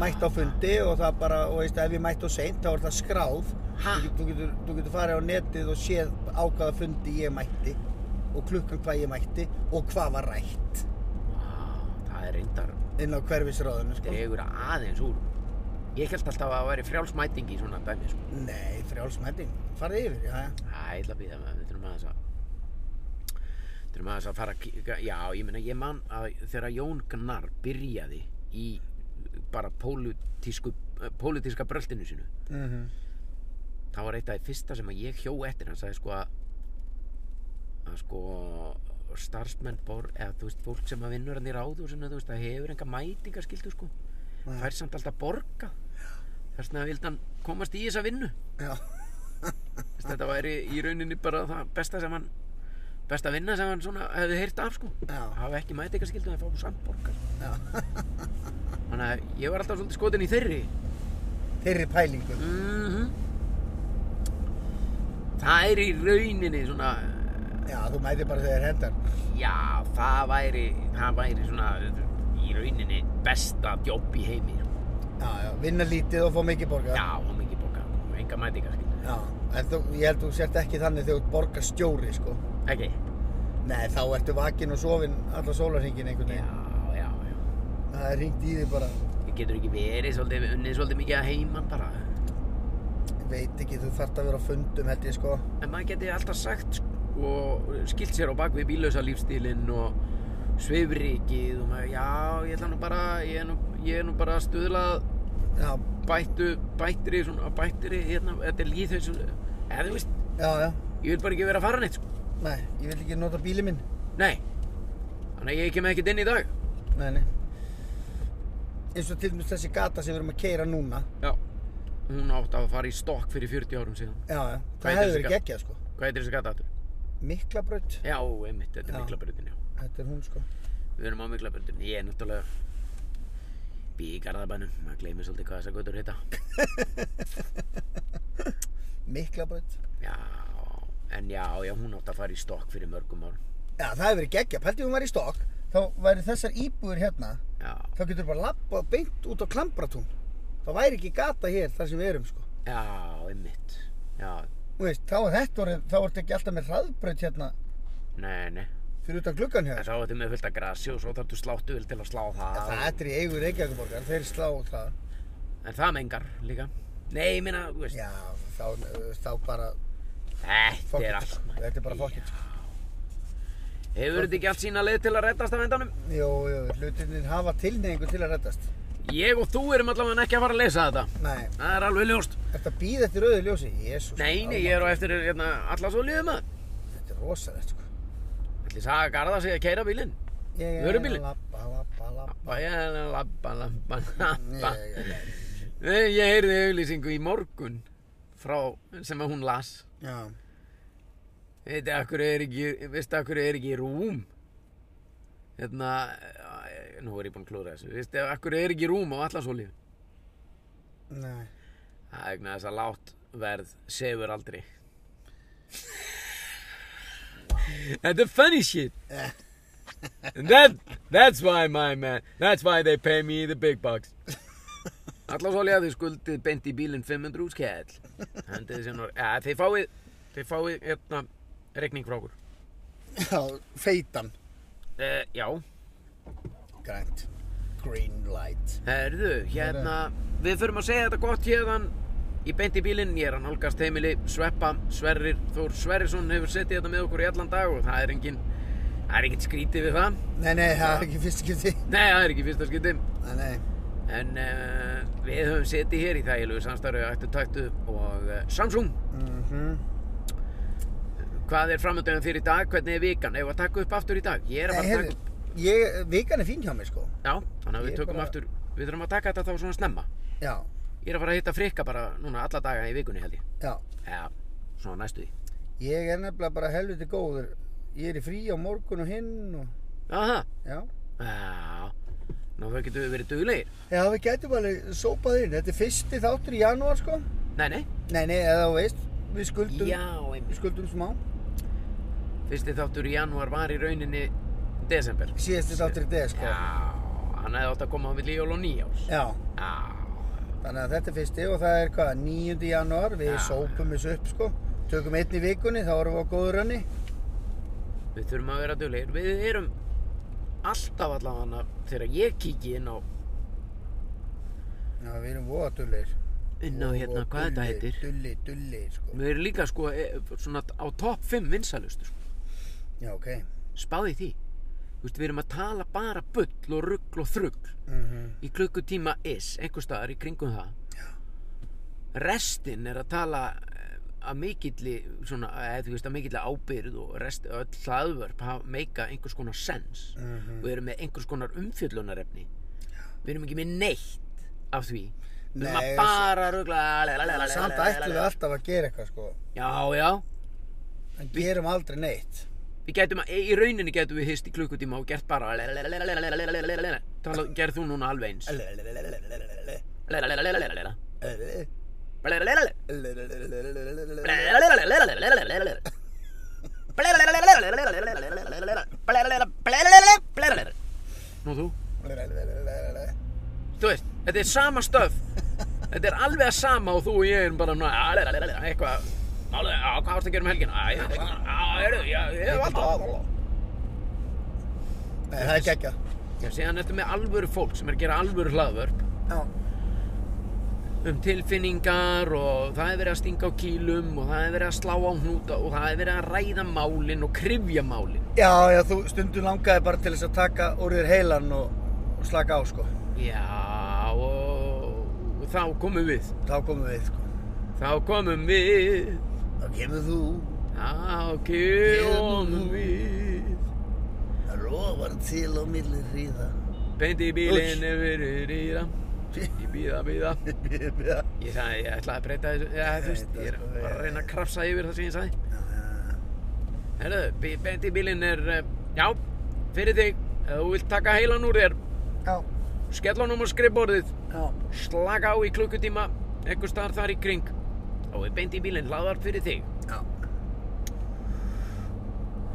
Speaker 2: mætt á fundi og það bara og veist, ef ég mætt á seint þá er það skráð
Speaker 1: Ha?
Speaker 2: þú, get- þú, getur, þú getur farið á netið og séð á hvaða fundi ég mætti og klukkan hvað ég mætti og hvað var rætt
Speaker 1: Það er reyndar,
Speaker 2: inn á hverfisráðinu sko.
Speaker 1: dregur aðeins úr Ég held alltaf að það væri frjálsmæting í svona dæmi sko.
Speaker 2: nei, frjálsmæting, farið yfir já, já.
Speaker 1: Æ, ég ætla að býða með, við þurfum aðeins að Við þurfum aðeins að fara að kíka- Já, ég meina, ég man að þegar Jón Gnar byrjaði í bara pólitísku eh, pólitíska bröltinu sinu
Speaker 2: Mm
Speaker 1: það var eitt af því fyrsta sem að ég hjó eftir hann sagði sko að að sko starfsmenn bor, eða þú veist, fólk sem að vinnur hann í ráðhúsinu, þú veist, það hefur enga mætingaskildu sko,
Speaker 2: Nei.
Speaker 1: fær samt alltaf borga þess vegna vildi hann komast í þessa vinnu
Speaker 2: já.
Speaker 1: þess, þetta væri í rauninni bara það besta sem hann besta vinna sem hann svona hefði heyrt af sko
Speaker 2: Já.
Speaker 1: hafa ekki mætingaskildu en fá samt borga sko.
Speaker 2: Já.
Speaker 1: þannig að ég var alltaf svolítið skotin í þeirri
Speaker 2: þeirri pælingu
Speaker 1: mm það er í rauninni svona
Speaker 2: já, þú mætir bara þegar hendar
Speaker 1: Já, það væri, það væri svona í rauninni besta jobb í heimi.
Speaker 2: já, já, vinna lítið og fá mikið borgað
Speaker 1: Já, og mikið borga, enga mætingar, skilur.
Speaker 2: Já, en þú, ég held þú sért ekki þannig þegar þú borgar stjóri, sko.
Speaker 1: Ekki?
Speaker 2: Nei, þá ertu vakinn og sofinn alla sólarhingin einhvern
Speaker 1: Já,
Speaker 2: veginn.
Speaker 1: já, já.
Speaker 2: Það er hringt í þig bara,
Speaker 1: Við getur ekki verið svolítið, unnið svolítið mikið að heiman bara.
Speaker 2: veit ekki, þú þart að vera á fundum, held ég, sko.
Speaker 1: En maður geti alltaf sagt sko, og skilt sér á bak við bílausa lífstílinn og sveifrikið og maður, já, ég ætla nú bara, ég er nú, ég er nú bara að stuðla að
Speaker 2: Já,
Speaker 1: bættu, bættri, svona bættri, hérna, þetta er líð þessu, eða þú veist,
Speaker 2: já, já.
Speaker 1: ég vil bara ekki vera að fara neitt, sko.
Speaker 2: Nei, ég vil ekki nota bílið minn.
Speaker 1: Nei, þannig að ég kem ekkert inn í dag.
Speaker 2: Nei, nei. Eins og til dæmis þessi gata sem við erum að keira núna.
Speaker 1: Já. Hún átti að fara í stokk fyrir 40 árum síðan.
Speaker 2: Já, já.
Speaker 1: Hvað
Speaker 2: Það
Speaker 1: heitir
Speaker 2: hefur
Speaker 1: þessi
Speaker 2: verið
Speaker 1: gata?
Speaker 2: geggjað, sko.
Speaker 1: Hvað heitir þessi gata aftur?
Speaker 2: Miklabraut,
Speaker 1: Já, einmitt, þetta er
Speaker 2: Já.
Speaker 1: Miklabrautin, já.
Speaker 2: þetta er hún, sko.
Speaker 1: Við erum á Miklabrautin. Ég er náttúrulega bý í Garðabænum. Maður gleymir svolítið hvað þessar götur heita.
Speaker 2: Miklabraut
Speaker 1: Já, en já, já, hún átt að fara í stokk fyrir mörgum árum.
Speaker 2: Já, það hefur verið geggja, pældi hún var í stokk þá væri þessar íbúður hérna
Speaker 1: Já,
Speaker 2: þá getur bara labbað beint út á klambratún þá væri ekki gata hér þar sem við erum sko
Speaker 1: já, einmitt. Já,
Speaker 2: Þú veist, þá er þetta orðið, þá ertu ekki alltaf með hraðbraut hérna
Speaker 1: nei, nei.
Speaker 2: fyrir utan gluggan
Speaker 1: En
Speaker 2: hér
Speaker 1: þá ertu með fullt að grasi og svo þarftu sláttu til að slá það.
Speaker 2: Það þetta er í eigu Reykjavíkuborgar, þeir slá það
Speaker 1: En það mengar líka. Nei, ég minna, þú veist,
Speaker 2: Já, þá, þú veist, þá bara
Speaker 1: þetta
Speaker 2: fuck
Speaker 1: er
Speaker 2: it,
Speaker 1: allt.
Speaker 2: sko.
Speaker 1: maður.
Speaker 2: Þetta er bara fuck it, sko.
Speaker 1: Hefur þetta ekki allt sína leið til að reddast af endanum?
Speaker 2: Jó, jó, hlutinir hafa tilneyingu til að reddast
Speaker 1: Ég og þú erum allavega ekki að fara að leysa þetta.
Speaker 2: Nei,
Speaker 1: Það er alveg ljóst.
Speaker 2: þetta býð eftir rauðu ljósi Jésús
Speaker 1: Nei, nei, ég er á eftir hérna, alla svo liðum að.
Speaker 2: Þetta er rosalegt, sko
Speaker 1: Ætli saga Garða sig að keira bílinn.
Speaker 2: Ég er
Speaker 1: Vörubílinn?
Speaker 2: að labba, labba, labba
Speaker 1: Bæja, labba, labba, labba.
Speaker 2: Ég- ég- ég-
Speaker 1: Nei, Ég heyrði auðlýsingu í morgun frá sem að hún las.
Speaker 2: Já,
Speaker 1: Veitu, akkur er ekki, veistu, akkur er ekki rúm? Hérna, æ, nú er ég búinn að klúra þessu. Veistu, akkur er ekki rúm á alla svo liðum?
Speaker 2: nei
Speaker 1: Það er vegna þess að látt verð sefur aldrei. Þetta er funny shit. And that, that's why my man, that's why they pay me the big bucks. Alla svo að þið skuldið beint í bílinn 500 skell. Hendið þið sem var, ja, þið fáið, þið fáið, hérna, regning frá okkur.
Speaker 2: Já, feitan
Speaker 1: Uh, já,
Speaker 2: Grænt Green light
Speaker 1: herðu, hérna, við förum að segja þetta gott hérðan í beint í bílinn. Ég er að nálgast heimili, sveppa, sverrir, Þór Sverrisson hefur setið þetta með okkur í allan dag og það er engin, það er engin skrítið við það.
Speaker 2: Nei, nei, það er ekki fyrst ekki því
Speaker 1: Nei, það er ekki fyrsta skiptið.
Speaker 2: Nei, nei
Speaker 1: En uh, við höfum setið hér í þægilegu samstarfi ættu tættu og uh, Samsung.
Speaker 2: Mhm.
Speaker 1: Hvað er framöndan fyrir í dag? Hvernig er vikan? Ef að taka upp aftur í dag? Ég er að
Speaker 2: Nei,
Speaker 1: fara að taka
Speaker 2: heyrðu,
Speaker 1: upp.
Speaker 2: ég, vikan er fín hjá mér, sko
Speaker 1: Já, þannig að
Speaker 2: Ég
Speaker 1: við
Speaker 2: er
Speaker 1: tökum
Speaker 2: bara-
Speaker 1: aftur. Við þurfum að taka þetta þá svona snemma.
Speaker 2: Já,
Speaker 1: Ég er að fara að hitta frikka bara núna alla daga í vikunni held ég.
Speaker 2: já
Speaker 1: Já, svona næstu því.
Speaker 2: Ég er nefnilega bara helviti góður Ég er í frí á morgun og hinn og
Speaker 1: Já, það.
Speaker 2: Já
Speaker 1: Já, ná þau getum við verið duglegir.
Speaker 2: Já, við getum alveg sópað inn Þetta er fyrsti þáttur í janúar, sko
Speaker 1: Nei, nei.
Speaker 2: Nei, nei, eða þú veist Við skuldum
Speaker 1: Já,
Speaker 2: Við
Speaker 1: einmitt.
Speaker 2: skuldum smá
Speaker 1: Fyrsti þáttur í janúar var í rauninni desember.
Speaker 2: Síðasti þáttur í dag, sko
Speaker 1: Já, hann hefði átt að koma á milli jól og nýjárs.
Speaker 2: Já
Speaker 1: Já,
Speaker 2: Þannig að þetta er fyrsti og það er hvað, 9. janúar, við
Speaker 1: Já.
Speaker 2: sópum þessu upp sko, tökum einn í vikunni, þá erum við á góður rönni.
Speaker 1: Við þurfum að vera duglegir. Við erum alltaf allavega þegar ég kíki inn á,
Speaker 2: Já, við erum voða dullir.
Speaker 1: inn á hérna, hvað þetta heitir.
Speaker 2: Dulli, dulli, sko.
Speaker 1: Við erum líka sko e- svona á topp 5 vinsalustu. Sko.
Speaker 2: Já, ok.
Speaker 1: Spáði því. Þú veist, við erum að tala bara bull og rugl og þrugl
Speaker 2: Mm
Speaker 1: í klukkutíma is, einhver staðar í kringum það. Já. Restin er að tala eh, að mikilli, svona, eða þú veist, að mikilli ábyrð og rest, öll hlaðvörp hafa- meika einhvers konar sens.
Speaker 2: Mhm.
Speaker 1: og erum með einhvers konar umfjöllunarefni við erum ekki með neitt af því við erum að
Speaker 2: Nei,
Speaker 1: bara rugla
Speaker 2: Samt ætlum við alltaf að gera eitthvað sko,
Speaker 1: já, já,
Speaker 2: en gerum aldrei neitt.
Speaker 1: við getum að í rauninni getum við hist í klukkutíma og gert bara tala, gerð þú núna alveg eins nú þú þú veist, þetta er sama stöf þetta er alveg að sama og þú og ég erum bara svona, "Ah, lera, lera, lera," eitthvað alveg, á, hvað varstu að gera um helgina? Æ, ég veit ekki, á, heyrðu, ég ég hef alltaf
Speaker 2: Nei, það er geggja.
Speaker 1: Já, síðan ertu með alvöru fólk sem er að gera alvöru hlaðvörp
Speaker 2: Já.
Speaker 1: um tilfinningar og það er verið að stinga á kýlum og það er verið að slá á hnúta og það er verið að ræða málin og krifja málin
Speaker 2: Já, já, þú stundum langaði bara til þess að taka úr þér heilan og, og slaka á sko.
Speaker 1: Já, og, og þá komum við
Speaker 2: Þá komum við sko.
Speaker 1: Þá komum við
Speaker 2: Þá kemur þú,
Speaker 1: Þá komum við
Speaker 2: rofar til á milli hríða.
Speaker 1: Beint í bílinn er verið rýra Ég býða, býða
Speaker 2: Já,
Speaker 1: Ég sagði, ég ætlaði að breyta þessu Já, þú veist, ég er bara að reyna að krafsa yfir það sem ég sagði
Speaker 2: já.
Speaker 1: Herðu, bí- beint í bílinn er, eh, já, fyrir þig, ef þú vilt taka heilan úr þér,
Speaker 2: Já,
Speaker 1: skella honum á skrifborðið,
Speaker 2: já.
Speaker 1: slaka á í klukkutíma, einhver staðar þar í kring, þá er beint í bílinn hlaðvarp fyrir þig.
Speaker 2: Já.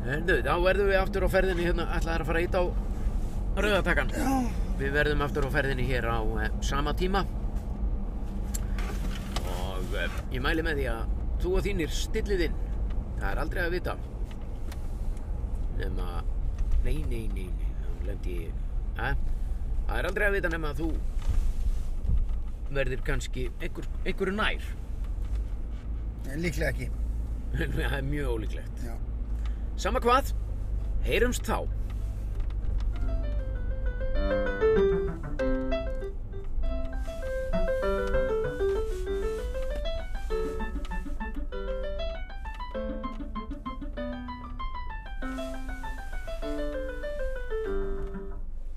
Speaker 1: Herðu, þá verðum við aftur á ferðinni hérna, ætlaðar að fara ít á rauðatakkan. Við verðum aftur á ferðinni hér á eh, sama tíma. Og eh, ég mæli með því að þú og þínir stillið inn. Það er aldrei að vita. Nefn að, nei, nei, nei, nei, þá lendi ég, eh? Það er aldrei að vita nefn að þú verðir kannski einhver, einhverju nær.
Speaker 2: Líklega ekki.
Speaker 1: Það er mjög ólíklegt.
Speaker 2: Já.
Speaker 1: Sama hvað, heyrumst þá.